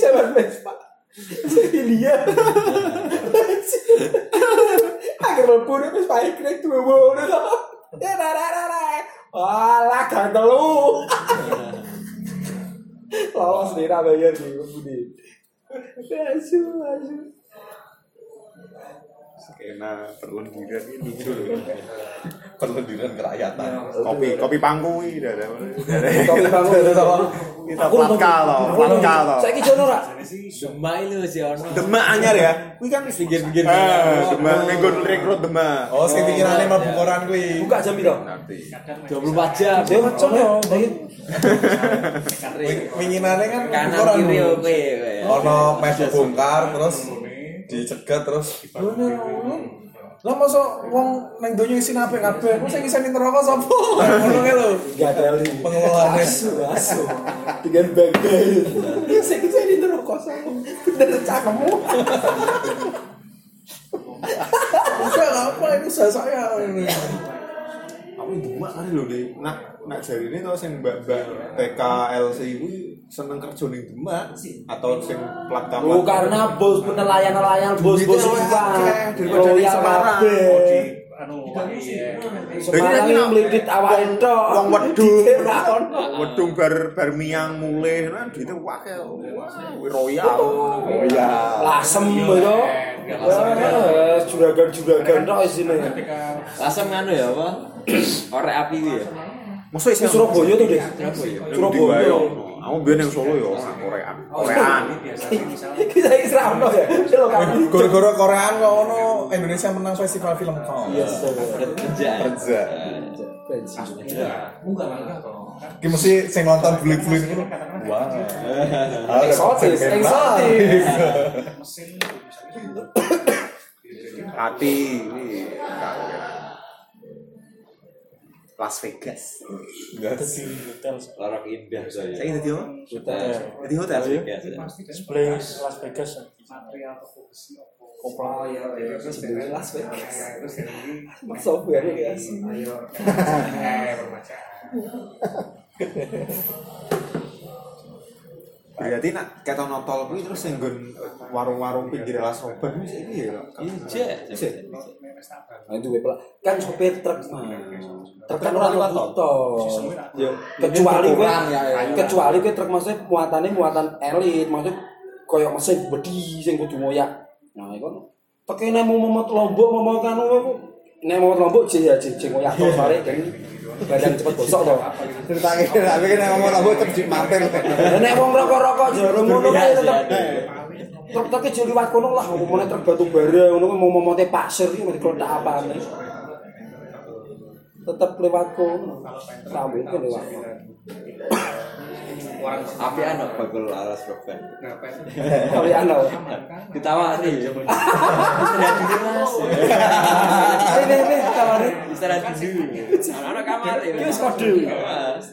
[SPEAKER 4] Jalan Vespa. Iya. Akhir mlebu nek wis pae krek tuwe ngono to. Wala gatel lu. Lawas nih ra bayar nih budi. Asu asu.
[SPEAKER 1] skena perlendiran ini dulu
[SPEAKER 2] perlendiran kerakyatan
[SPEAKER 1] kopi kopi pangkui ada
[SPEAKER 4] Kopi bangun itu to.
[SPEAKER 1] kita platka loh platka loh
[SPEAKER 4] Saiki jono ra?
[SPEAKER 7] Demak itu sih ono.
[SPEAKER 1] demak anyar ya
[SPEAKER 7] Kuwi kan wis pinggir-pinggir.
[SPEAKER 1] eh demak minggu rekrut demak
[SPEAKER 10] Oh, sing pikirane mabuk koran kuwi.
[SPEAKER 4] Buka jam piro?
[SPEAKER 1] nanti
[SPEAKER 7] 24 jam.
[SPEAKER 4] Yo cocok ya.
[SPEAKER 10] Winginane kan mabuk
[SPEAKER 7] Kanan
[SPEAKER 10] koran.
[SPEAKER 7] kiri ya.
[SPEAKER 10] Bu.
[SPEAKER 7] oke.
[SPEAKER 2] ono mes bongkar terus dicegat terus
[SPEAKER 10] Bener, ngono. Lah masa wong nang donya isi apik kabeh. Masa sing isini neraka sapa? Ngono kae lho.
[SPEAKER 4] Gadeli.
[SPEAKER 10] Pengelolane.
[SPEAKER 4] Asu asu. Dengan bangkai. Saiki saya di rokok sama. Bener cakemmu.
[SPEAKER 10] Enggak lah, apa ini saya saya.
[SPEAKER 1] aku demak kali lho deh nak nak jari ini tau sing mbak mbak TKLC itu seneng kerja ning demak atau sing platka
[SPEAKER 4] Oh karena bos penelayan-nelayan bos-bos
[SPEAKER 1] Duitnya
[SPEAKER 4] kita.
[SPEAKER 1] akeh daripada
[SPEAKER 4] Oh
[SPEAKER 1] yang
[SPEAKER 4] ya
[SPEAKER 1] Semarang.
[SPEAKER 3] oh di
[SPEAKER 4] kabeh.
[SPEAKER 3] anu iya
[SPEAKER 4] Semarang ini melidit awak entok.
[SPEAKER 1] wong wedung
[SPEAKER 4] Dicek ra ono.
[SPEAKER 1] wedung bar bar miang mulih nah gitu wakil Wah, royal
[SPEAKER 2] oh ya
[SPEAKER 4] Lasem itu. Eh, Juragan-juragan tok isine.
[SPEAKER 7] Lasem anu ya apa? Orek api kuwi ya.
[SPEAKER 1] masa
[SPEAKER 4] Di
[SPEAKER 1] isi
[SPEAKER 4] Surabaya tuh deh.
[SPEAKER 1] Surabaya
[SPEAKER 4] Surabaya.
[SPEAKER 1] aku biar yang Solo ya orang Koreaan Koreaan
[SPEAKER 4] Kita Isra ono ya. Selo kabeh.
[SPEAKER 10] Gara-gara Koreaan kok ono Indonesia menang festival film kok.
[SPEAKER 4] Yes. sir.
[SPEAKER 7] Kerja.
[SPEAKER 2] kerja
[SPEAKER 10] Ki mesti sing nonton bulit-bulit itu. Wah.
[SPEAKER 1] Iya.
[SPEAKER 4] Eksotis, eksotis.
[SPEAKER 1] hati ini Las Vegas
[SPEAKER 7] Lorok indah saya.
[SPEAKER 1] saya jadi apa? jadi hotel
[SPEAKER 7] Las
[SPEAKER 1] sih
[SPEAKER 7] Vegas. ya.
[SPEAKER 8] sebelah Las Vegas ya.
[SPEAKER 4] Las Vegas. Mas software ya guys.
[SPEAKER 1] berarti nak kata notol kuwi terus yang nggon eh, warung-warung pinggir Las Roban kuwi saiki ya
[SPEAKER 7] Iya,
[SPEAKER 1] Sih.
[SPEAKER 4] Nah, itu gue pelak. Kan sopir truk mah. Truk kan
[SPEAKER 1] Truk
[SPEAKER 4] orang
[SPEAKER 1] lewat
[SPEAKER 4] lewat tol. Kecuali gue, kecuali gue truk maksudnya muatannya muatan elit, maksudnya koyok mesin bedi sing kudu ngoyak. Nah, itu kan tekene mau memot lombok mau mau kan aku. Nek mau lombok sih ya sih ngoyak tol sore kan badan cepet bosok toh.
[SPEAKER 6] Ceritane tapi kan ngomong tak bocor di mampir.
[SPEAKER 4] Lah Eh, nek wong rokok-rokok jero ngono kuwi tetep truk-truk jero liwat kono lah umpamane truk batu bara ngono kuwi mau momote pasir iki mesti kletak apane. Tetep lewat kono. Rambut kan lewat kono.
[SPEAKER 7] Api anak bakul alas roban.
[SPEAKER 4] Kali ana.
[SPEAKER 7] Ditawari. Istirahat dulu mas.
[SPEAKER 4] Sini sini kawari.
[SPEAKER 7] Istirahat dulu. Anak kamar ya.
[SPEAKER 4] Wis kode.
[SPEAKER 7] Mas.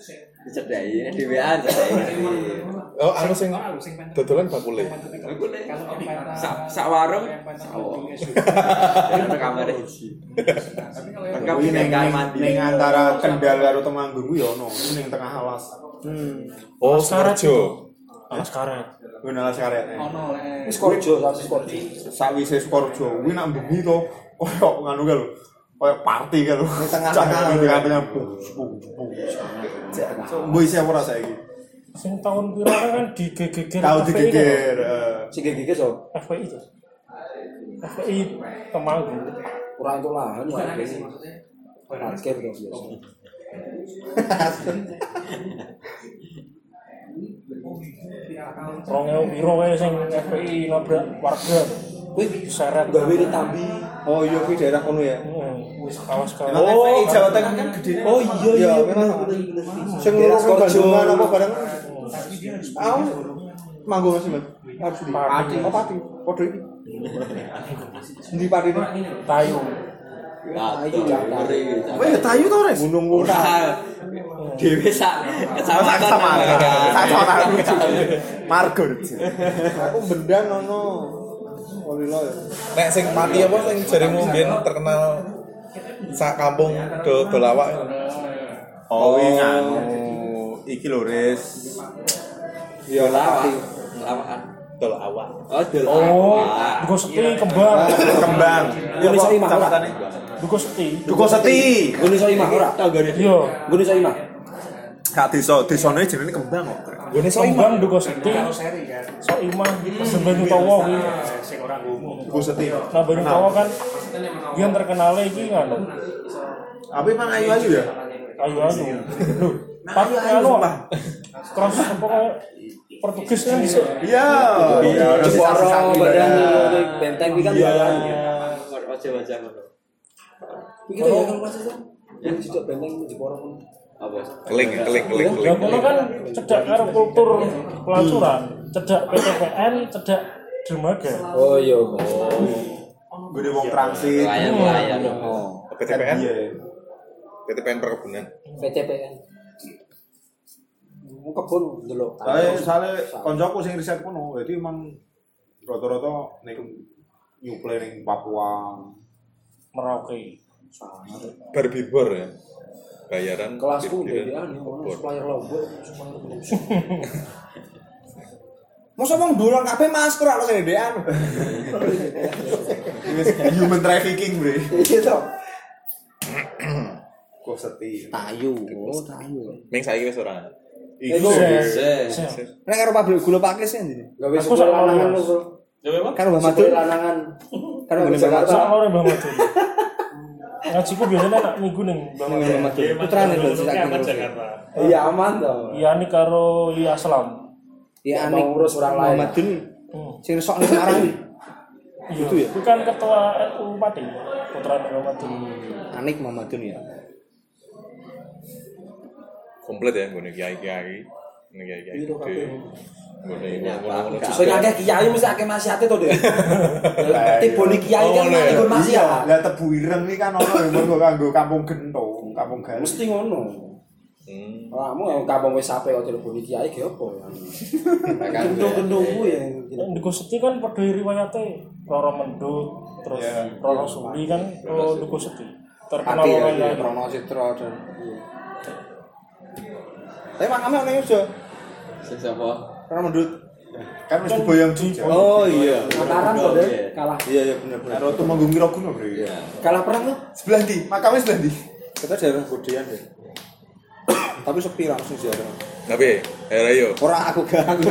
[SPEAKER 7] Dicedai, ini di WA dicedai.
[SPEAKER 10] Oh, anu sing dodolan bakule.
[SPEAKER 7] Aku nih, sak sak warung, sak warung. Anak kamar hiji. Lengkap
[SPEAKER 1] Kuwi
[SPEAKER 7] dengan
[SPEAKER 1] ning
[SPEAKER 7] kamar
[SPEAKER 1] ning-
[SPEAKER 7] mandi.
[SPEAKER 1] ning antara Kendal karo Temanggung kuwi ya ono Kuwi ning tengah alas
[SPEAKER 10] Oh, Sukoharjo.
[SPEAKER 8] Alas karet.
[SPEAKER 1] kuwi nang alas karet e. ono
[SPEAKER 4] Wis korjo, wis korjo.
[SPEAKER 1] sawise Sukoharjo kuwi nak bengi to koyo nganu kae lho koyo party kae lho
[SPEAKER 6] tengah-tengah lho.
[SPEAKER 1] tengah-tengah Mbok isi apa ora saiki
[SPEAKER 8] Sing tahun pira kan di GGG.
[SPEAKER 1] Tahu digeger. eh.
[SPEAKER 4] Sing gigi so.
[SPEAKER 8] FPI itu FPI Temanggung
[SPEAKER 4] Kurang tuh lah, anu ada
[SPEAKER 7] Bukan agak
[SPEAKER 4] sih.
[SPEAKER 7] sih maksudnya. Oh.
[SPEAKER 4] Parkir tuh biasa.
[SPEAKER 8] Rongeo Biro kayak sing FPI nabrak warga
[SPEAKER 4] Wih,
[SPEAKER 8] seret
[SPEAKER 4] gawe tambi.
[SPEAKER 6] Oh iya kuwi daerah kono ya.
[SPEAKER 8] Hmm, wis kawas
[SPEAKER 1] Emang
[SPEAKER 8] kawas
[SPEAKER 4] Oh,
[SPEAKER 1] FPI Jawa Tengah kan gede.
[SPEAKER 4] Oh iya iya
[SPEAKER 6] Iya,
[SPEAKER 4] bener
[SPEAKER 6] bener.
[SPEAKER 4] bener, bener.
[SPEAKER 6] Sing
[SPEAKER 4] Daerah
[SPEAKER 6] loro
[SPEAKER 4] Skorjo.
[SPEAKER 6] Bandungan apa barang. Aku manggung masih men. Harus di
[SPEAKER 8] Pati.
[SPEAKER 6] Oh pati. Podho iki. Ndi pati ini?
[SPEAKER 8] tayu
[SPEAKER 4] Ayo Jakarta.
[SPEAKER 1] Wah, ya tayu to, Res.
[SPEAKER 6] Gunung Kuta.
[SPEAKER 7] Dewi sak kecamatan
[SPEAKER 1] Sama
[SPEAKER 7] Sama.
[SPEAKER 1] Sama tayu. Margo.
[SPEAKER 6] Aku bendang ono. Olilo ya.
[SPEAKER 2] Nek sing mati apa sing jarimu mbiyen terkenal sak kampung do dolawak.
[SPEAKER 1] Oh, iya. Iki lho, Res.
[SPEAKER 6] Iya lati.
[SPEAKER 7] Lawakan.
[SPEAKER 2] Dolawak.
[SPEAKER 7] Oh, delok.
[SPEAKER 8] Oh,
[SPEAKER 7] Ah.
[SPEAKER 8] Duko Seti kembang
[SPEAKER 4] Iya.
[SPEAKER 1] Kembang. Ya
[SPEAKER 4] Indonesia
[SPEAKER 1] kok
[SPEAKER 4] lima, ora?
[SPEAKER 1] kecamatannya?
[SPEAKER 8] Duko Seti
[SPEAKER 1] Duko Seti.
[SPEAKER 4] Gue iso imah ora?
[SPEAKER 8] iya
[SPEAKER 4] Gue iso imah.
[SPEAKER 1] Kak Desa, desane jenenge Kembang kok.
[SPEAKER 8] Gone kembang Duko Seti Soimah Semben Utowo kuwi
[SPEAKER 3] kan, sing ora ngomong
[SPEAKER 6] Gue setia.
[SPEAKER 8] Nah Ben Utowo kan yang terkenalnya iki kan
[SPEAKER 1] Apa emang ayu-ayu ya?
[SPEAKER 8] ayu-ayu lho tapi
[SPEAKER 1] ayu-ayu,
[SPEAKER 8] anu
[SPEAKER 1] sumpah.
[SPEAKER 8] cross apa kayak Portugis kan iso
[SPEAKER 1] Iya. Iya,
[SPEAKER 4] Jeporo badan benteng iki kan badan.
[SPEAKER 7] Wajah-wajah ngono.
[SPEAKER 4] Iki tuh ya kan masih tuh. Yang juga benteng Jeporo.
[SPEAKER 7] Apa?
[SPEAKER 2] Link link link link.
[SPEAKER 8] Lah kono kan cedak karo kultur pelacuran, cedak PTPN, cedak dermaga.
[SPEAKER 4] Oh iya.
[SPEAKER 1] Gue wong transit.
[SPEAKER 7] Layan-layan.
[SPEAKER 2] PTPN,
[SPEAKER 1] Iya.
[SPEAKER 2] PTPN perkebunan.
[SPEAKER 4] PTPN. Mau kebun delok.
[SPEAKER 1] Soalnya, soalnya koncoku sing riset kono, jadi emang rata-rata ning nyuplai ning Papua.
[SPEAKER 8] Merauke.
[SPEAKER 2] Barbibor ya. Bayaran
[SPEAKER 4] kelasku
[SPEAKER 2] birbiran.
[SPEAKER 4] jadi anu ono supplier lombok supplier Bogor.
[SPEAKER 6] Masa wong durung kabeh masker kok sing ndean.
[SPEAKER 1] Human trafficking, Bre.
[SPEAKER 4] Iya toh.
[SPEAKER 1] Kok seti.
[SPEAKER 4] Tayu, oh tayu.
[SPEAKER 2] Ming saiki wis ora.
[SPEAKER 4] Iku
[SPEAKER 8] Iya. Eh.
[SPEAKER 6] Nek karo pabrik gula pakis ya ndi?
[SPEAKER 4] gawe
[SPEAKER 8] Aku
[SPEAKER 4] sekolah
[SPEAKER 8] sama
[SPEAKER 4] lanangan
[SPEAKER 8] Mas.
[SPEAKER 4] lu, Bro.
[SPEAKER 3] ya memang
[SPEAKER 6] Karo Mbah
[SPEAKER 4] Sekolah
[SPEAKER 6] Madun.
[SPEAKER 4] lanangan. Kan di
[SPEAKER 6] Gini, Mbak
[SPEAKER 4] Jakarta.
[SPEAKER 8] Sak ora Mbah Madun. Ngajiku biasanya nak minggu ning Mbah Madun.
[SPEAKER 6] Putrane lho sing
[SPEAKER 3] Jakarta
[SPEAKER 6] tak
[SPEAKER 3] Jakarta
[SPEAKER 4] Iya aman toh.
[SPEAKER 8] Iya ini karo Iya Aslam.
[SPEAKER 6] Ya
[SPEAKER 4] Mau
[SPEAKER 6] anik
[SPEAKER 4] ngurus orang lain.
[SPEAKER 6] Muhammadin
[SPEAKER 8] Hmm.
[SPEAKER 6] sing resok ning Semarang. Gitu ya?
[SPEAKER 8] Iya. Bukan ketua NU Pati, putra Mbah Madun.
[SPEAKER 6] Anik Muhammadin ya.
[SPEAKER 2] Komplit ya nggone kiai-kiai. Nggone kiai-kiai.
[SPEAKER 4] Biro
[SPEAKER 2] gede.
[SPEAKER 4] kabeh.
[SPEAKER 2] Nggone
[SPEAKER 7] Iya,
[SPEAKER 2] ngono-ngono.
[SPEAKER 4] Sing akeh kiai mesti akeh maksiate to, Dek.
[SPEAKER 6] iya.
[SPEAKER 4] Tiba ni kiai kan
[SPEAKER 2] Oh,
[SPEAKER 6] ya.
[SPEAKER 4] nganggo
[SPEAKER 2] iya.
[SPEAKER 1] Iya,
[SPEAKER 4] maksiat.
[SPEAKER 1] lah tebu ireng iki kan ono yang mergo kanggo kampung gento, kampung garis.
[SPEAKER 4] Mesti ngono.
[SPEAKER 2] Hmm.
[SPEAKER 4] Kamu yang kampung wis sampe kok telepon kiai ge
[SPEAKER 6] ya?
[SPEAKER 4] opo?
[SPEAKER 6] kan
[SPEAKER 4] Gendung-gendungku ya.
[SPEAKER 8] Duko Seti kan padha riwayate Roro Mendut, terus Roro Suli kan oh Duko Seti. Terkenal
[SPEAKER 6] Pati ya,
[SPEAKER 4] iya,
[SPEAKER 8] orang
[SPEAKER 6] ya,
[SPEAKER 8] yang
[SPEAKER 6] Rono Citro dan Tapi makame ono yo.
[SPEAKER 7] Sing sapa?
[SPEAKER 6] Karena mendut.
[SPEAKER 1] Kan wis diboyong Jogja.
[SPEAKER 6] Oh iya.
[SPEAKER 4] Mataram to, Dek. Kalah.
[SPEAKER 6] Iya iya bener bener.
[SPEAKER 1] Karo Tumenggung Wiraguna, Bre.
[SPEAKER 4] Kalah perang tuh.
[SPEAKER 1] Sebelah ndi? Makame sebelah ndi?
[SPEAKER 6] Kita daerah godean deh. Tapi sepi ra mesti daerah.
[SPEAKER 2] Tapi, era yo.
[SPEAKER 6] Ora aku gak aku.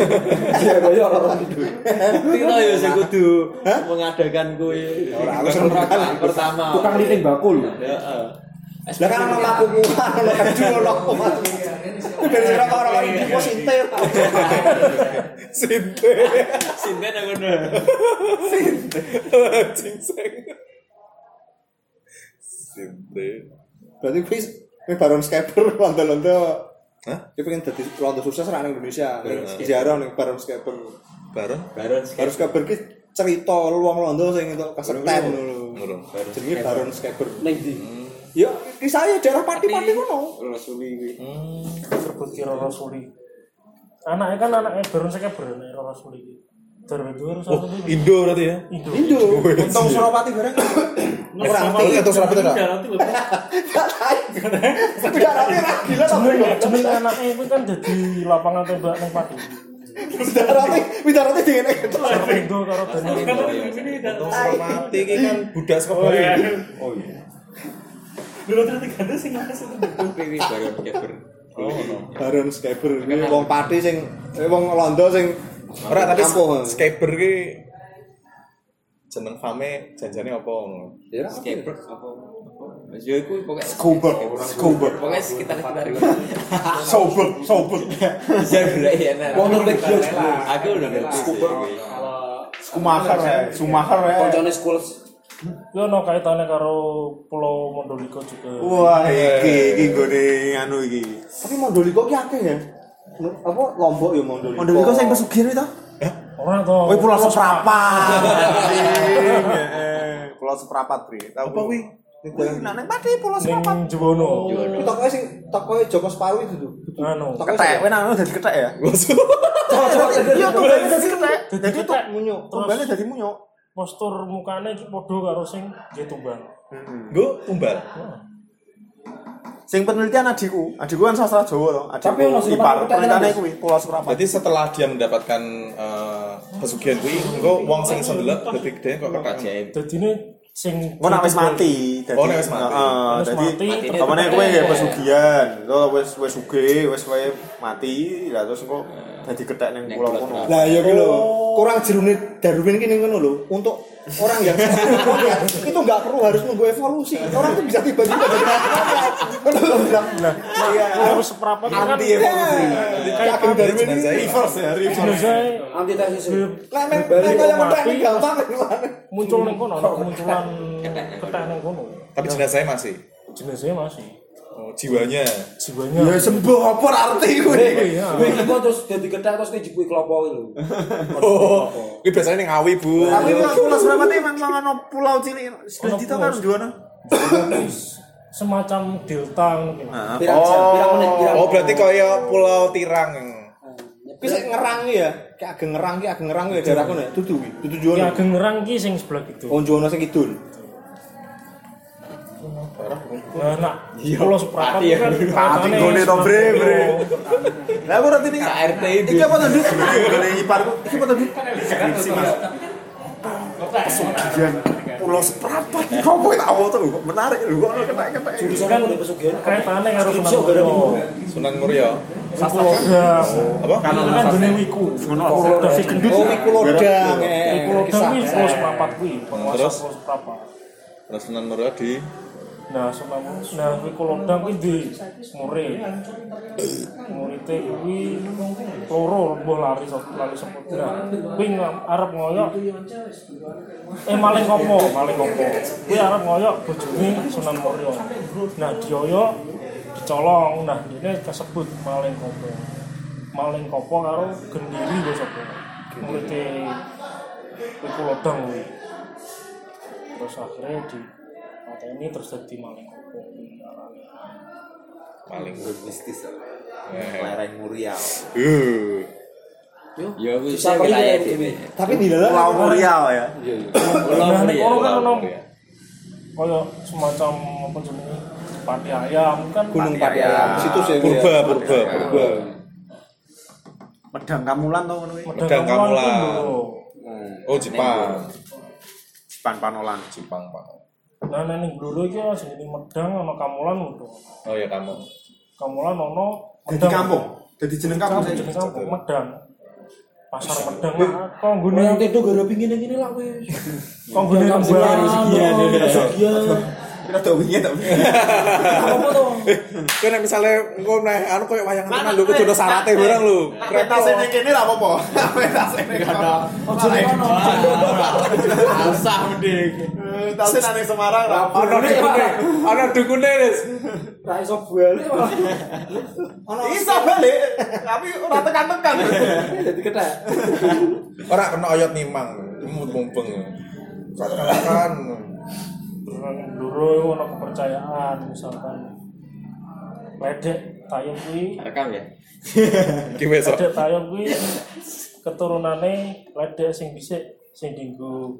[SPEAKER 4] Iya, kaya orang
[SPEAKER 7] Tino ya sing kudu mengadakan kuwi.
[SPEAKER 6] Ora aku seneng
[SPEAKER 7] Pertama- pertama.
[SPEAKER 4] tukang lilin bakul.
[SPEAKER 7] Heeh.
[SPEAKER 6] Lah kan ono laku kuwan, ono kedu, ono kuwan. Ben ora ora iki pos intel.
[SPEAKER 2] Sinte.
[SPEAKER 7] Sinten aku ngono.
[SPEAKER 2] Cingseng. Sinte.
[SPEAKER 6] Berarti kuwi kuwi Baron Scaper londo-londo.
[SPEAKER 2] Hah?
[SPEAKER 6] Dia pengen jadi londo sukses ra nang Indonesia. Ning
[SPEAKER 2] Baron
[SPEAKER 6] sejarah ning Baron Scaper.
[SPEAKER 2] Baron.
[SPEAKER 7] Baron
[SPEAKER 6] Baron Scaper ki cerita wong londo sing entuk kasetan ngono.
[SPEAKER 2] Ngurung.
[SPEAKER 6] Jenenge Baron Scaper.
[SPEAKER 4] Ning ndi?
[SPEAKER 6] Ya kisahnya daerah pati-pati ngono.
[SPEAKER 7] Rasuli kuwi.
[SPEAKER 8] Rebut Roro Suli. Anaknya kan anaknya Baron saya Baron Roro Suli. Baron itu Roro Suli.
[SPEAKER 2] Indo berarti ya.
[SPEAKER 8] Indo.
[SPEAKER 6] Indo. Untung Surabati bareng. Kurang
[SPEAKER 2] Tapi atau serabut ora?
[SPEAKER 3] Iya, Nanti lho
[SPEAKER 6] Darahnya ra gila kok.
[SPEAKER 8] Jeneng jeneng anaknya itu kan jadi lapangan tembak ning Pati.
[SPEAKER 6] Darahnya, darahnya dingin gitu.
[SPEAKER 8] Indo karo Baron.
[SPEAKER 3] kan.
[SPEAKER 2] Untung Mati iki kan budak saka Bali.
[SPEAKER 1] Oh iya.
[SPEAKER 3] dulu terus diganti sing mana sih
[SPEAKER 7] Piwi Baron Keber.
[SPEAKER 2] Oh, no.
[SPEAKER 6] Baron Scaper, ini wong pati sing eh, wong Londo sing
[SPEAKER 2] Ora tapi
[SPEAKER 6] Apa?
[SPEAKER 2] skaper ki jeneng fame janjane apa ngono.
[SPEAKER 6] Ya ora.
[SPEAKER 7] Skaper apa? Mas yo iku pokoknya
[SPEAKER 6] Scuba, scuba.
[SPEAKER 7] pokoknya sekitar sekitar iku.
[SPEAKER 6] Sober, sober.
[SPEAKER 7] Bisa boleh ya nah.
[SPEAKER 6] Wonderback Hills.
[SPEAKER 7] Aku udah ngerti. Scuba.
[SPEAKER 6] Sumaker ya, Sumaker ya.
[SPEAKER 1] eh.
[SPEAKER 4] Koncone school
[SPEAKER 8] Yo no kaitannya karo Pulau Mondoliko juga.
[SPEAKER 1] Wah, iki iki gone anu iki.
[SPEAKER 6] Tapi Mondoliko ki akeh ya. Mo- Apa Lombok ya Mondoliko.
[SPEAKER 1] Mondoliko sing pesugihan itu?
[SPEAKER 8] Orang tuh.
[SPEAKER 1] Oh, pulau seprapat. Pulau seprapat, Bri. Tahu apa kuwi? Kuwi nak nang Pati pulau seprapat.
[SPEAKER 8] Neng Juwono.
[SPEAKER 6] Itu tokoe sing tokoe Joko Separu itu tuh.
[SPEAKER 8] Anu.
[SPEAKER 6] Tokoe
[SPEAKER 1] Ketek, kowe
[SPEAKER 6] siapa?
[SPEAKER 1] nang dadi ketek ya? Iya,
[SPEAKER 6] Iya,
[SPEAKER 1] tumbalnya dadi ketek.
[SPEAKER 8] Jadi
[SPEAKER 1] Jadi
[SPEAKER 8] ketek
[SPEAKER 1] munyo.
[SPEAKER 8] munyuk.
[SPEAKER 1] Tumbalnya
[SPEAKER 8] Terus
[SPEAKER 1] dadi munyo.
[SPEAKER 8] postur mukanya iki podo karo sing dia tumbang.
[SPEAKER 2] Nggo tumbal.
[SPEAKER 1] Sing penelitian adikku, adikku kan sastra Jawa to.
[SPEAKER 4] Tapi ono
[SPEAKER 1] Adikku
[SPEAKER 4] sing patut
[SPEAKER 1] ipar,
[SPEAKER 4] tanya,
[SPEAKER 1] penelitiane
[SPEAKER 4] Mas.
[SPEAKER 1] kuwi pulau seprapat.
[SPEAKER 2] Jadi setelah dia mendapatkan eh, pesugihan kuwi, engko wong sing sendelek dadi gede kok kekajian.
[SPEAKER 8] Jadi ini sing.
[SPEAKER 1] Engko nak wis mati, dadi
[SPEAKER 2] Oh, nek wis mati.
[SPEAKER 1] Heeh,
[SPEAKER 8] Terus
[SPEAKER 1] dadi
[SPEAKER 8] mati,
[SPEAKER 7] mati.
[SPEAKER 8] terus
[SPEAKER 1] Kamane kowe nggih pesugihan, terus wis wis sugih, wis kowe mati, lah terus engko dadi ketek ning
[SPEAKER 7] Nek
[SPEAKER 1] pulau
[SPEAKER 7] pulau
[SPEAKER 1] kono.
[SPEAKER 7] Seprapat.
[SPEAKER 6] Lah ya ki lho, kurang jerune Darwin ini ngono lho. Untuk orang yang itu nggak perlu harus nunggu evolusi. Orang tuh bisa tiba-tiba jadi orang.
[SPEAKER 8] harus seprapat kan.
[SPEAKER 2] Iya.
[SPEAKER 1] Anti evolusi.
[SPEAKER 6] Kayak Darwin ini
[SPEAKER 1] Reverse ya, reverse.
[SPEAKER 8] Jenazah e
[SPEAKER 4] antitesis.
[SPEAKER 6] Lah men, lah kaya mentek ini gampang gimana?
[SPEAKER 8] muncul neng kono, ada kemunculan ketek neng kono.
[SPEAKER 2] Tapi jenazahnya masih.
[SPEAKER 8] Jenazahnya masih.
[SPEAKER 2] Oh, jiwanya.
[SPEAKER 8] Jiwanya.
[SPEAKER 1] Ya sembuh apa arti kuwi?
[SPEAKER 8] Iya.
[SPEAKER 4] Kowe iki kok terus dadi gedang terus dijupui klopo iki lho.
[SPEAKER 2] Ini Oh, biasanya ning ngawi, Bu.
[SPEAKER 1] Tapi pulau pulau Seprapat emang ono pulau cilik. Sudah
[SPEAKER 8] Ono
[SPEAKER 1] dito
[SPEAKER 8] pulau.
[SPEAKER 1] kan juwana.
[SPEAKER 8] Semacam delta mungkin.
[SPEAKER 1] Ah.
[SPEAKER 6] Oh.
[SPEAKER 4] Pirang jam, pirang menit, pirang.
[SPEAKER 2] Oh, berarti kaya pulau Tirang.
[SPEAKER 6] Ki sik ngerang ki ya, ki ageng ngerang ki ageng ngerang ki ya daerah kono ya. Dudu ki, dudu jono.
[SPEAKER 8] Ya gengerang ki sing sebelah gitu.
[SPEAKER 6] Oh jono sing kidul.
[SPEAKER 8] Nah, nah, pulau seprapat
[SPEAKER 7] Pati ya.
[SPEAKER 8] kan
[SPEAKER 1] Pati
[SPEAKER 8] katanya
[SPEAKER 1] gone to, Bre,
[SPEAKER 8] sebelah
[SPEAKER 1] Bre.
[SPEAKER 8] pulau.
[SPEAKER 1] Lah aku rati ning
[SPEAKER 7] KRT itu.
[SPEAKER 1] Iki apa to, Dit? Gone iparku. Iki apa to, Dit? Skripsi, Mas. Pesugihan Pulau Seprapat.
[SPEAKER 2] Eh.
[SPEAKER 1] Kok kowe tak apa tuh? Kok Menarik lho kok ono ketek-ketek.
[SPEAKER 4] Jurusan udah pesugihan.
[SPEAKER 8] Kaitannya karo Sunan
[SPEAKER 4] Skripsi
[SPEAKER 8] Muria.
[SPEAKER 2] Sunan Muria.
[SPEAKER 8] Wiku Lodang.
[SPEAKER 2] Apa?
[SPEAKER 8] Itu kan dunia Wiku. Dasi gendut.
[SPEAKER 6] Oh iku lodang. eh.
[SPEAKER 8] Wiku Lodang kuwi pulau seprapat kuwi. Penguasa
[SPEAKER 2] Terus?
[SPEAKER 8] pulau seprapat.
[SPEAKER 2] Terus Sunan Muria di
[SPEAKER 8] Nah, Sunan Nah, Wiku Lodang kuwi di Murai. Murite kuwi loro mbuh lari sop- lari sepeda. Kuwi ngam- arep ngoyok. Eh maling kopo, maling kopo. Kuwi arep ngoyok bojone Sunan Muria. Nah, dioyok dicolong. Nah, ini kesebut maling kopo. Maling kopo karo gendiri lho sapa. Murite Wiku Lodang kuwi. Terus akhirnya di ini terus jadi maling kopo.
[SPEAKER 2] paling.
[SPEAKER 1] Mistis.
[SPEAKER 7] Eh.
[SPEAKER 1] Lereng Muriau.
[SPEAKER 2] Uh.
[SPEAKER 7] Ya wis
[SPEAKER 4] Bisa
[SPEAKER 7] saya wilayah
[SPEAKER 4] perlu
[SPEAKER 7] dhewe.
[SPEAKER 6] Tapi di dalam
[SPEAKER 1] Pulau Muriau ya.
[SPEAKER 2] ya,
[SPEAKER 7] Pulau
[SPEAKER 8] Nah, nek
[SPEAKER 7] Muria.
[SPEAKER 8] kono kan ono
[SPEAKER 2] Muria.
[SPEAKER 8] kaya semacam apa jenenge pati ayam kan
[SPEAKER 6] Gunung
[SPEAKER 1] Pati
[SPEAKER 7] Iya,
[SPEAKER 1] Ayam.
[SPEAKER 6] Patia. Situs ya. Bu, ya.
[SPEAKER 2] Ah, Purba, purba, purba.
[SPEAKER 1] Medang Kamulan to ngono kuwi.
[SPEAKER 2] Medang Kamulan.
[SPEAKER 8] kuwi lho.
[SPEAKER 7] iya.
[SPEAKER 2] Oh, Jepang.
[SPEAKER 1] Pan Panolan.
[SPEAKER 2] Jepang, Pak.
[SPEAKER 8] Nah nek ning Blora iki ana jenenge Medang ana Kamulan lho.
[SPEAKER 2] Oh ya kamu.
[SPEAKER 8] Kamulan ana
[SPEAKER 1] Jadi kampung. Jadi jeneng kampung.
[SPEAKER 8] Kampung jenenge kampung Medang. Pasar Medang lah
[SPEAKER 4] Gue
[SPEAKER 8] konggone
[SPEAKER 4] yang tidur gara pingin yang ini lah wes.
[SPEAKER 8] konggone
[SPEAKER 4] Sekian,
[SPEAKER 8] rembang.
[SPEAKER 1] ya.
[SPEAKER 4] sekian, sekian.
[SPEAKER 1] Kita tak wingi tak wingi.
[SPEAKER 4] Apa tuh?
[SPEAKER 2] Kowe nek misale engko nek anu koyo wayangan tenan lho kudu sarate bareng lho.
[SPEAKER 1] Kereta sing ning kene ra apa-apa. Kereta sing ning kono.
[SPEAKER 4] Ojo kono.
[SPEAKER 7] Asah mending.
[SPEAKER 1] Kereta sing nang Semarang ra
[SPEAKER 2] Ana dukune, ana dukune wis.
[SPEAKER 4] Ra Nah, iso bali malah.
[SPEAKER 1] Bisa balik, tapi ora tekan-tekan.
[SPEAKER 4] Jadi ketek.
[SPEAKER 2] Ora kena oyot nimang, mumpung. Katakan.
[SPEAKER 8] Orang yang Blora iku ana kepercayaan misalkan ledek tayub kuwi
[SPEAKER 7] Rekam ya.
[SPEAKER 2] Ki wis. so.
[SPEAKER 8] Ledek tayub kuwi keturunane ledek sing bisik sing dinggo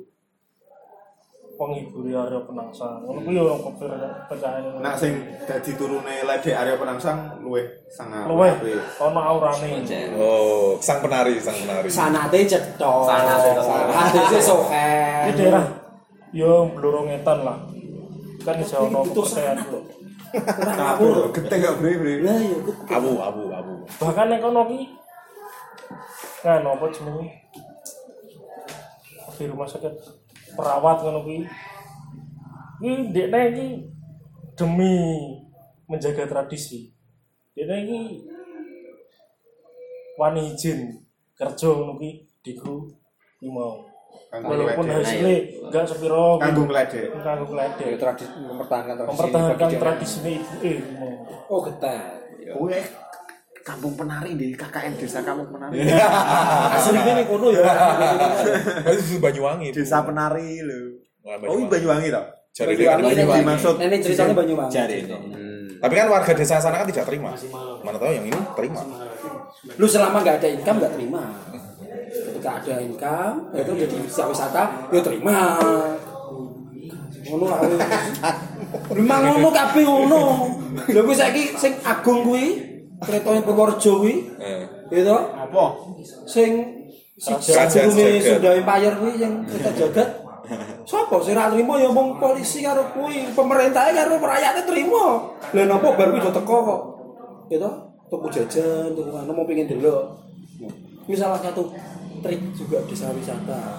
[SPEAKER 8] penghibur area penangsang. Ngono kuwi yo kepercayaan.
[SPEAKER 1] Nak sing dadi turune ledek Arya Penangsang luwih sangat.
[SPEAKER 8] luweh ana aurane
[SPEAKER 2] Oh, sang penari, sang penari.
[SPEAKER 4] Sanate cetok. Sanate cetok. Hadise sokan.
[SPEAKER 8] iki daerah yo Blora Ngetan lah kan iso ana
[SPEAKER 4] Putus
[SPEAKER 8] kepercayaan
[SPEAKER 4] aku.
[SPEAKER 1] Kabur
[SPEAKER 2] iya,
[SPEAKER 1] geteng gak bre bre.
[SPEAKER 4] Lah yo
[SPEAKER 2] Abu, abu, abu.
[SPEAKER 8] bahkan nek kono ki kan apa jenenge di rumah sakit perawat ngono kuwi ini dekne iki demi menjaga tradisi dekne iki wani izin kerja ngono kuwi digru iki mau walaupun hasilnya gak sepiro
[SPEAKER 1] Kanggo
[SPEAKER 8] gitu.
[SPEAKER 1] ngledek.
[SPEAKER 8] kanggo
[SPEAKER 6] Ya,
[SPEAKER 8] ngledek
[SPEAKER 6] tradisi mempertahankan tradisi
[SPEAKER 8] mempertahankan
[SPEAKER 6] ini bagi dia.
[SPEAKER 8] tradisi ibu eh iki mau
[SPEAKER 4] oh getah
[SPEAKER 1] Kowe kampung penari di KKN desa kampung penari.
[SPEAKER 4] Iya. aslinya nih kono ya
[SPEAKER 2] Itu Banyuwangi. Bu.
[SPEAKER 1] desa penari lho.
[SPEAKER 2] Wah,
[SPEAKER 1] Oh, ini Banyuwangi toh?
[SPEAKER 2] Jari dia kan
[SPEAKER 4] Banyuwangi.
[SPEAKER 2] Banyuwangi.
[SPEAKER 1] Dimaksud
[SPEAKER 4] ini ceritanya Banyuwangi
[SPEAKER 7] Hmm.
[SPEAKER 2] Tapi kan warga desa sana kan tidak terima. Mana tahu yang ini terima.
[SPEAKER 4] lu selama nggak ada income nggak terima ketika ada income itu jadi bisa wisata ya terima ngono aku Memang ngono kabeh ngono lha kuwi saiki sing agung kuwi keretane Purworejo kuwi
[SPEAKER 2] Eh.
[SPEAKER 4] gitu
[SPEAKER 1] apa?
[SPEAKER 4] sing sing sebelumnya Sunda Empire kuwi yang kita jagat Sopo sing ra trimo ya mung polisi karo kuwi, pemerintahnya karo rakyate trimo. Lah napa baru iso teko kok. Gitu, tuku jajan, tuku anu mau pengen delok. Ini salah satu trik juga desa wisata.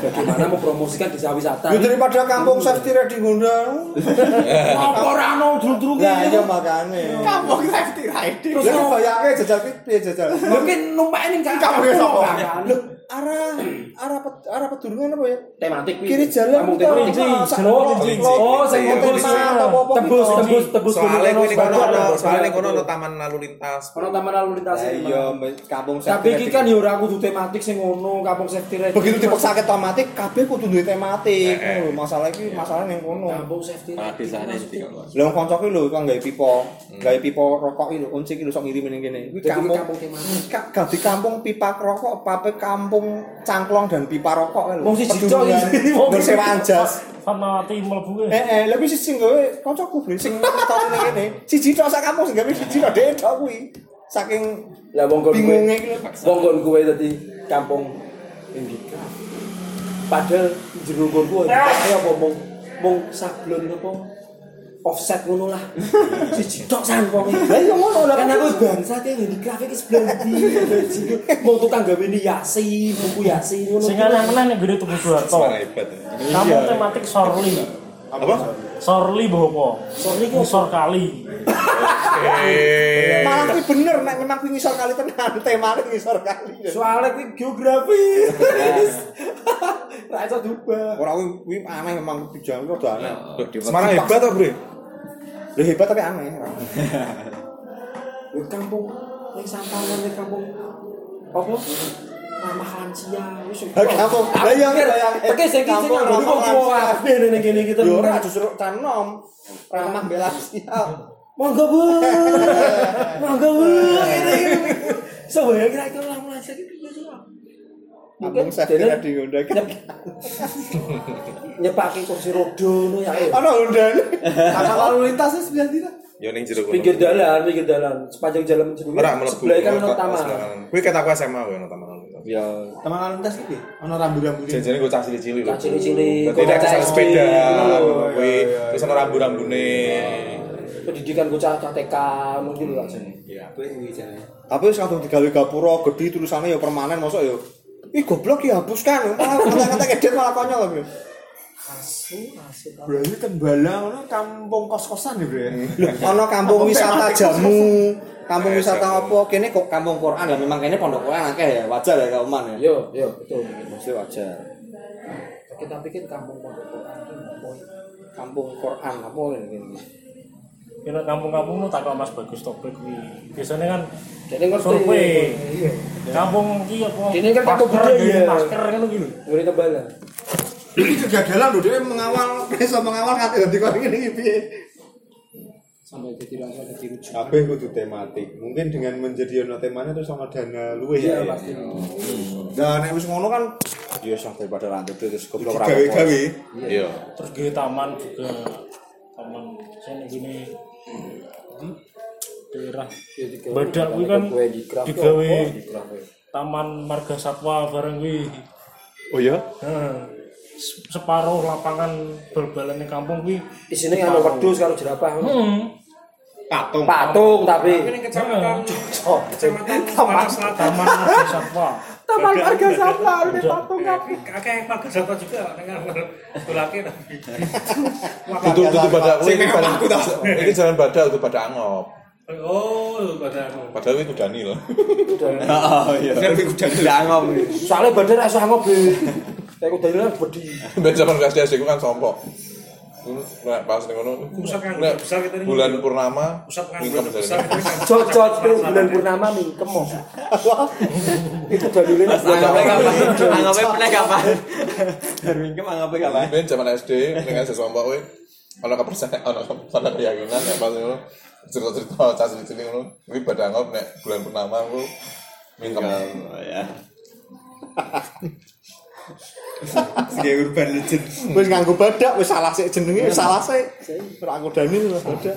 [SPEAKER 4] Bagaimana mempromosikan desa wisata?
[SPEAKER 6] Ya, daripada kampung safety ready ngundang.
[SPEAKER 4] Apa ora ono dul-dul
[SPEAKER 6] Lah iya
[SPEAKER 4] gitu.
[SPEAKER 6] makane.
[SPEAKER 1] Kampung safety riding.
[SPEAKER 4] Terus
[SPEAKER 6] Terus
[SPEAKER 4] no-
[SPEAKER 6] bayangke jajal ki piye jajal.
[SPEAKER 4] Mungkin numpak ning
[SPEAKER 1] Kamu ya sopo?
[SPEAKER 6] Lho, arah arah pet, arah pedulungan apa ya?
[SPEAKER 4] Tematik kuwi.
[SPEAKER 6] Kiri jalan
[SPEAKER 4] Kampung
[SPEAKER 6] kita,
[SPEAKER 4] Tematik.
[SPEAKER 6] Pak, sak
[SPEAKER 8] Jalan
[SPEAKER 6] lorong,
[SPEAKER 8] Kelinci.
[SPEAKER 6] lorong.
[SPEAKER 4] Oh, sing
[SPEAKER 2] Iya,
[SPEAKER 4] tebus,
[SPEAKER 2] iya.
[SPEAKER 6] Apa-apa
[SPEAKER 4] tebus,
[SPEAKER 6] gitu.
[SPEAKER 4] tebus, tebus.
[SPEAKER 2] Soalnya
[SPEAKER 4] dulu
[SPEAKER 2] gue ini kono,
[SPEAKER 4] Soalnya
[SPEAKER 2] ada- soalnya
[SPEAKER 4] dulu.
[SPEAKER 2] kono ada taman lalu lintas.
[SPEAKER 4] Ono taman lalu lintas.
[SPEAKER 6] Lah iya me- kampung safety.
[SPEAKER 4] Tapi iki
[SPEAKER 6] ready.
[SPEAKER 4] kan ya ora kudu tematik sing ngono, kampung safety red.
[SPEAKER 6] begitu dipaksakan tematik kabeh kudu duwe tematik
[SPEAKER 2] Eh, eh.
[SPEAKER 6] lho masalah iki masalah ning kono
[SPEAKER 4] Kampung safety red.
[SPEAKER 7] Malah desane iki kok.
[SPEAKER 6] lha wong kanca ki lho kok gawe pipa
[SPEAKER 2] Hmm.
[SPEAKER 6] gawe pipa rokok iki lho kunci ki lho sok ngirim ning kene kuwi
[SPEAKER 4] Jadi kampung kampung
[SPEAKER 6] kampung
[SPEAKER 4] tematik.
[SPEAKER 6] Ka- gak di kampung pipa rokok pape kampung cangklong dan pipa rokok lho kan.
[SPEAKER 4] Wong siji tok iki, wong
[SPEAKER 6] wong
[SPEAKER 4] siji
[SPEAKER 6] sewaan jas
[SPEAKER 8] Fatmawati mlebu kuwi.
[SPEAKER 6] eh eh lha kuwi sing gawe kancaku bro sing tau ning kene siji tok sak kampung sing gawe siji tok dhek tok kuwi saking
[SPEAKER 4] Lah wong kon kuwe.
[SPEAKER 6] bingungnya iki lho
[SPEAKER 4] Wong kon kuwe dadi kampung Indika. Padahal jero kon kuwe ya apa mung mung sablon apa offset ngono lah. Siji tok san wong.
[SPEAKER 6] lha iya ngono lho
[SPEAKER 4] Kan aku bangsa ki Indika iki sebelah ndi. Mau tukang gawe hiasi, buku hiasi ngono.
[SPEAKER 8] Sing aneh-aneh ning gede tuku Suharto.
[SPEAKER 2] Wah, hebat.
[SPEAKER 8] Kampung tematik Sorli.
[SPEAKER 2] Apa?
[SPEAKER 8] Sorli bopo.
[SPEAKER 4] Sorli ki
[SPEAKER 8] Sor kali.
[SPEAKER 2] Eh,
[SPEAKER 6] malah kuwi bener nek memang kuwi ngisor kali tenan temane ngisor kali
[SPEAKER 4] soalnya kuwi geografi ra iso diubah
[SPEAKER 6] Ora kuwi kuwi aneh memang kebijakan kuwi rada aneh.
[SPEAKER 2] Semarang hebat toh, Bre?
[SPEAKER 6] Lho hebat tapi aneh.
[SPEAKER 4] Lho, kampung ning sampangan ning kampung apa ramah lansia wis
[SPEAKER 6] Lah, kampung. Lah, iya, iya, iya.
[SPEAKER 4] Oke, sing iki sing
[SPEAKER 6] Kampung
[SPEAKER 4] nganggo
[SPEAKER 6] ramah
[SPEAKER 4] kok
[SPEAKER 6] lansia.
[SPEAKER 4] kabeh ning kene iki
[SPEAKER 6] Yo ora
[SPEAKER 4] tenan.
[SPEAKER 6] justru tanom ramah bela sosial.
[SPEAKER 4] Monggo Bu. Monggo Bu. Ini, ini. So, ya kira itu ramah lansia iki piye sih, Pak?
[SPEAKER 6] Kampung safety
[SPEAKER 4] dene-
[SPEAKER 6] tadi Honda.
[SPEAKER 4] nyep- nyepake kursi rodo ngono ya. eh.
[SPEAKER 6] Ana Honda. Apa lalu lintasnya sebelah dina?
[SPEAKER 2] Yo ning jero kono.
[SPEAKER 4] pinggir dalan, pinggir dalan, sepanjang jalan jero.
[SPEAKER 2] Ora mlebu.
[SPEAKER 4] Sebelah kan ono
[SPEAKER 2] Kota-
[SPEAKER 4] taman.
[SPEAKER 2] sebelah. Kuwi kata aku SMA kuwi ono taman lalu lintas.
[SPEAKER 6] Ya.
[SPEAKER 1] Taman lalu lintas iki. Ana rambu-rambu iki.
[SPEAKER 2] Jajaran gue cah cilik-cilik lho.
[SPEAKER 4] Cah cilik-cilik,
[SPEAKER 2] Berarti nek
[SPEAKER 4] kok
[SPEAKER 2] kesal
[SPEAKER 4] cah
[SPEAKER 2] sepeda,
[SPEAKER 4] cilik.
[SPEAKER 2] kuwi terus ono rambu-rambune.
[SPEAKER 4] pendidikan bocah cah TK mungkin gitu lah sini.
[SPEAKER 6] Tapi wis kadung digawe gapura gede tulisannya ya permanen mosok ya. Ih goblok ya dihapuskan. Malah kata-kata kedet malah konyol ya." lho.
[SPEAKER 4] Asu, asu.
[SPEAKER 1] Berarti Tembala ngono kampung kos-kosan ya, Bro. ya?
[SPEAKER 6] Ana kampung wisata jamu. Kampung
[SPEAKER 2] Eh,
[SPEAKER 6] wisata
[SPEAKER 2] jamu.
[SPEAKER 6] apa? Kene kok kampung Quran lah memang kene pondok Quran akeh ya. Wajar ya Kak
[SPEAKER 4] Nah,
[SPEAKER 6] Oman ya.
[SPEAKER 4] Yo, yo, betul.
[SPEAKER 6] Mesti wajar.
[SPEAKER 4] Kita pikir kampung pondok Quran itu apa?
[SPEAKER 6] kampung Quran apa ini
[SPEAKER 8] Kira Ya, kampung-kampung lu takok Mas Bagus Topik kuwi. Biasanya kan
[SPEAKER 4] Jadi ngerti.
[SPEAKER 8] survei.
[SPEAKER 4] Iya.
[SPEAKER 8] Kampung iki apa?
[SPEAKER 4] Ini kan kampung
[SPEAKER 8] masker,
[SPEAKER 4] budaya.
[SPEAKER 8] gaya Masker ngono kuwi lho.
[SPEAKER 4] Ngeri tebala.
[SPEAKER 6] ini kegagalan loh dia mengawal bisa mengawal hati hati kau ini piye
[SPEAKER 4] Sampai jadi rasa jadi rujuk.
[SPEAKER 1] Kabeh kudu tematik. Mungkin dengan menjadi ono temanya terus ono dana luwih
[SPEAKER 4] Iya pasti.
[SPEAKER 6] dan nek wis ngono kan ya sampai pada rantai terus goblok ra apa-apa.
[SPEAKER 1] Gawe-gawe.
[SPEAKER 2] Iya.
[SPEAKER 8] Terus gaya taman juga. Taman sini gini. Di daerah
[SPEAKER 4] Ya, digawe.
[SPEAKER 8] Badak kuwi kan
[SPEAKER 4] Kue di craft.
[SPEAKER 8] Hmm? digawe
[SPEAKER 4] Oh, di craft, ya.
[SPEAKER 8] taman marga satwa bareng kuwi.
[SPEAKER 2] Oh iya.
[SPEAKER 8] Heeh. Se- Separuh lapangan bal-balan ning kampung kuwi
[SPEAKER 4] anu Di sini kan ada wedus kalau jerapah.
[SPEAKER 8] Hmm.
[SPEAKER 2] patung
[SPEAKER 7] patung tapi
[SPEAKER 10] Ini kecamatan
[SPEAKER 4] Oh,
[SPEAKER 10] kecamatan Tanah Selatan.
[SPEAKER 8] Taman Marga Satwa.
[SPEAKER 4] taman warga sama ini patung apa?
[SPEAKER 3] Kakek Pak Gajato juga dengan tulake tapi
[SPEAKER 2] tutup tutup badak kuwi iki
[SPEAKER 6] Sing memang
[SPEAKER 2] jalan
[SPEAKER 6] aku tau.
[SPEAKER 2] iki jalan badak tutup badak angop
[SPEAKER 3] oh pada aku.
[SPEAKER 2] padahal kuwi kudani lho oh iya
[SPEAKER 7] tapi udah diangom
[SPEAKER 4] Soalnya bener asuh ngopi. Saya kudu dalil bedi.
[SPEAKER 2] ben zaman kelas SD ku kan sompok Nah, pas ning ngono
[SPEAKER 3] Pusat kan
[SPEAKER 2] nek
[SPEAKER 3] besar kita ini.
[SPEAKER 2] bulan purnama
[SPEAKER 3] pusat kan
[SPEAKER 2] ngikep
[SPEAKER 3] bulan
[SPEAKER 2] dari-
[SPEAKER 3] besar
[SPEAKER 4] Jojot terus bulan purnama nih kemo. Itu dalilnya
[SPEAKER 7] anggapnya kapan anggapnya pernah kapan baru mingkem anggapnya kapan
[SPEAKER 2] Ben zaman SD dengan saya sombong kowe ana kepercayaan ana ana keyakinan nek pas ngono cerita-cerita cas cilik ngono kuwi badhe ngop nek bulan purnama ku mingkem.
[SPEAKER 7] ya Sebagai urban legend
[SPEAKER 6] Wis nganggo badak wis salah sik jenenge wis salah sik. Ora nganggo Daniel wis badak.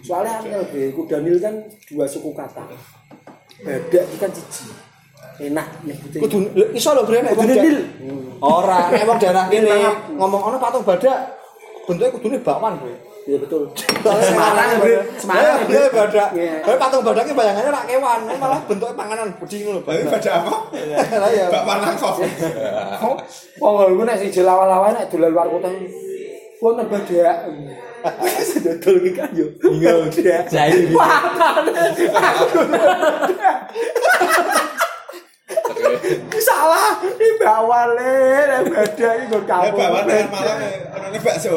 [SPEAKER 4] Soalnya angel be kudanil kan dua suku kata. Badak itu kan siji. Enak Eh, nyebutin.
[SPEAKER 6] Kudu lho, iso lho Bre nek wong
[SPEAKER 4] Kudune
[SPEAKER 6] da-
[SPEAKER 4] dil.
[SPEAKER 6] Ora, nek wong daerah
[SPEAKER 4] Dil,
[SPEAKER 6] kene
[SPEAKER 4] maaf.
[SPEAKER 6] ngomong ana patung badak bentuke kudune bakwan kowe.
[SPEAKER 4] Iya betul.
[SPEAKER 6] Semarang,
[SPEAKER 4] Bre.
[SPEAKER 6] Semarang
[SPEAKER 4] Semarang, Bre.
[SPEAKER 6] ya badak.
[SPEAKER 4] Iya.
[SPEAKER 6] Tapi patung badaknya bayangannya rak kewan, malah bentuknya panganan budi ngono
[SPEAKER 1] Tapi
[SPEAKER 6] badak.
[SPEAKER 1] pada apa?
[SPEAKER 6] Lah ya.
[SPEAKER 1] Pak Panang kok. Eh,
[SPEAKER 4] Wong ngono nek siji lawan-lawan nek dolan luar kota. Wonten badak. Sedol iki kan yo. Bingung dia.
[SPEAKER 7] Jadi
[SPEAKER 4] Salah, ini bawale, nek badak iki nggon
[SPEAKER 1] Eh
[SPEAKER 4] kampung.
[SPEAKER 1] bawa dengan Malang eh, orangnya bakso.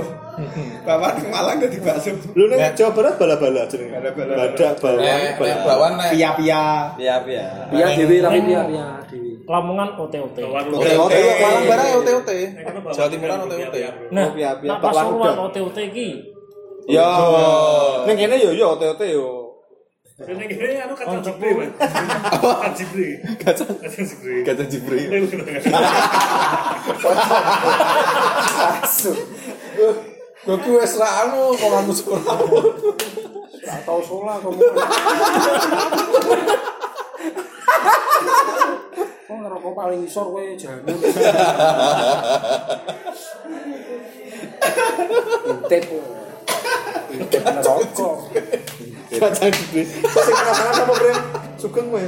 [SPEAKER 1] Bawa dengan Malang jadi bakso.
[SPEAKER 6] Lu nek Jawa Barat bala-bala jenenge.
[SPEAKER 1] Bala-bala.
[SPEAKER 6] Badak balwan,
[SPEAKER 2] Nek nek
[SPEAKER 6] bala.
[SPEAKER 2] bawan nek
[SPEAKER 1] Pia-pia.
[SPEAKER 7] ya ya
[SPEAKER 4] Iya dhewe tapi iya iya dhewe.
[SPEAKER 8] Lamongan OTOT.
[SPEAKER 6] Oke,
[SPEAKER 2] Eh,
[SPEAKER 6] oke.
[SPEAKER 2] Malang barang OTOT. Jawa Timuran OTOT.
[SPEAKER 8] Nah,
[SPEAKER 6] Iya, iya,
[SPEAKER 8] nak
[SPEAKER 6] Pak
[SPEAKER 8] Pasuruan
[SPEAKER 6] Wardah.
[SPEAKER 8] OTOT iki
[SPEAKER 6] Yo. Ning kene yo yo ote-ote yo.
[SPEAKER 3] Ini kira anu kacang jibri mas. Kacang jibri. Kacang kacang jibri.
[SPEAKER 2] Gajah Jibril.
[SPEAKER 3] Ini bukan kacang.
[SPEAKER 10] Gue kue serah anu, kalau anu sekolah.
[SPEAKER 4] Ora tau sholat kamu. Wong ngerokok paling isor kowe jahanam. Intip. Intip neraka.
[SPEAKER 6] Kacang gede. Sing penasaran apa, Bre? Sugeng kowe.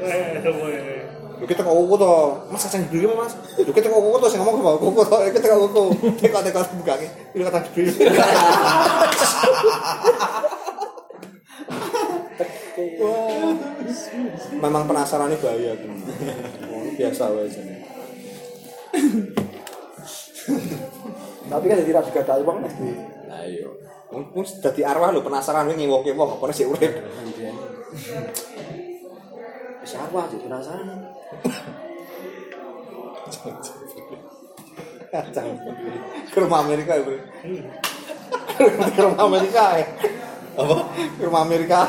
[SPEAKER 3] Eh, semua ini.
[SPEAKER 6] Lho kita kok koko to. Mas kacang gede apa, Mas? Lho kita kok koko to sing ngomong kok koko to. Kita kok koko. Kita kok kok bukake. Lho kacang gede. Wah. Memang penasarannya bahaya kan. Biasa wae jenenge.
[SPEAKER 4] Tapi kan jadi rabi gadai wong nek.
[SPEAKER 6] Ayo. Mungkin dadi arwah lho penasaran wingi ngewok-ngewok apa sih urip.
[SPEAKER 4] Wis arwah jadi penasaran.
[SPEAKER 6] Kacang gede. Ke rumah Amerika ya, Bre. Ke rumah Amerika ya.
[SPEAKER 2] Apa?
[SPEAKER 6] Ke rumah Amerika.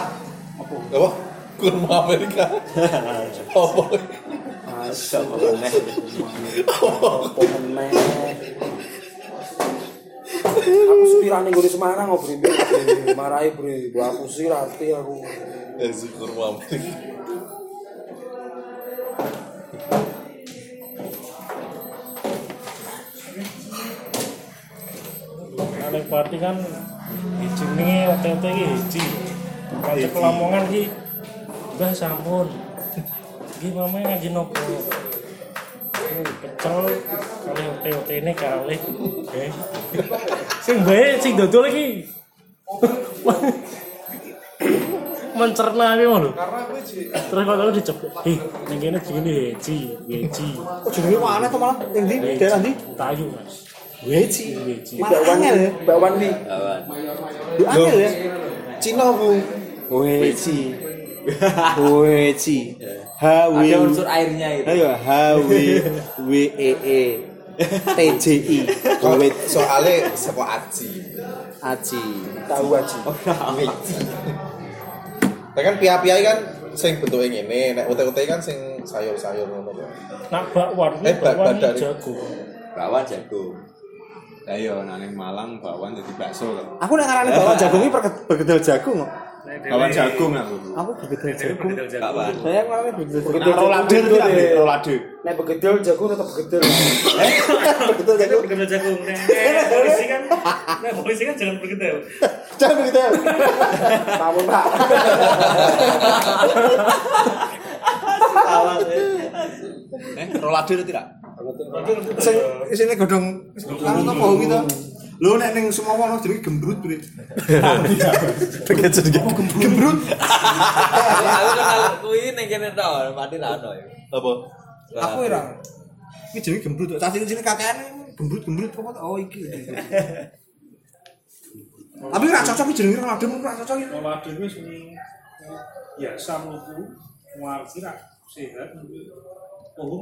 [SPEAKER 2] Apa? Kurma Amerika. Apa?
[SPEAKER 4] Astagfirullah. Apa meneh? Aku sepirane nggone Semarang oh, kok Bre. Marahi Bre, Gua aku sirati aku.
[SPEAKER 2] Eh, si kurma Amerika.
[SPEAKER 8] Nek Pati kan jenenge OTOT iki hiji. Kacek Lamongan iki Mbah sampun. Iki mamae ngaji nopo? Hmm, Pecel kali OTOT ini kali. Oke. Sing bae sing dodol iki. mencerna iki lho. Terus kalau dicepet, ih, ning kene jenenge hiji, hiji.
[SPEAKER 6] Kok Oh, jenenge kok aneh to malah ning ndi?
[SPEAKER 8] hiji.
[SPEAKER 6] Daerah ndi?
[SPEAKER 8] Tayu, Mas.
[SPEAKER 6] Weci.
[SPEAKER 8] Hiji.
[SPEAKER 6] Malah angel ya.
[SPEAKER 4] Bakwan nih.
[SPEAKER 6] Yo angel ya. Cina Bu. Weci. Weci.
[SPEAKER 7] Ờ.
[SPEAKER 6] H W.
[SPEAKER 7] ada unsur airnya itu
[SPEAKER 6] Ayo H W W E E T J I. Wet
[SPEAKER 2] Soale saka aji.
[SPEAKER 6] aci.
[SPEAKER 4] tahu aja
[SPEAKER 2] Lah kan pia-pia kan sing bentuke ngene, nek ote-ote kan sing sayur-sayur ngono to.
[SPEAKER 8] Nak bakwan,
[SPEAKER 2] Eh, bak-
[SPEAKER 8] bakwan
[SPEAKER 2] badan.
[SPEAKER 8] ini jago.
[SPEAKER 7] bawah jago ayo nang Malang bawaan jadi bakso loh
[SPEAKER 6] Aku nek ngarani bawa jagung iki perke- bergedel jagung kok.
[SPEAKER 1] Kawan jagung aku.
[SPEAKER 11] Aku begedil jagung.
[SPEAKER 12] Gak apa.
[SPEAKER 11] Saya ngelakuin begedil jagung.
[SPEAKER 1] Nah, rolade itu tak ambil rolade.
[SPEAKER 4] Nek begedil jagung tetap begedil.
[SPEAKER 2] Betul kan?
[SPEAKER 3] Itu berkedel jagung. Nah, nah, polisi kan, nah polisi kan jangan berkedel.
[SPEAKER 2] Jangan begitu.
[SPEAKER 4] Namun Pak,
[SPEAKER 12] Eh, rolade itu tidak?
[SPEAKER 2] Sing isine godhong langsung apa gitu. Lho nek ning semua ono jenenge gembrut, Bre.
[SPEAKER 12] Begitu sedikit.
[SPEAKER 2] Gembrut.
[SPEAKER 7] Aku kenal kuwi ning kene tok, mati ra ono. ya.
[SPEAKER 12] Apa?
[SPEAKER 7] vâng.
[SPEAKER 13] Aku ora.
[SPEAKER 2] Iki jenenge gembrut. Cah sing sini kakean gembrut-gembrut apa to? Oh iki. Tapi ora cocok iki jenenge ora adem ora cocok iki.
[SPEAKER 3] Pola dhewe sing biasa mlebu, ngarti ra sehat. Oh,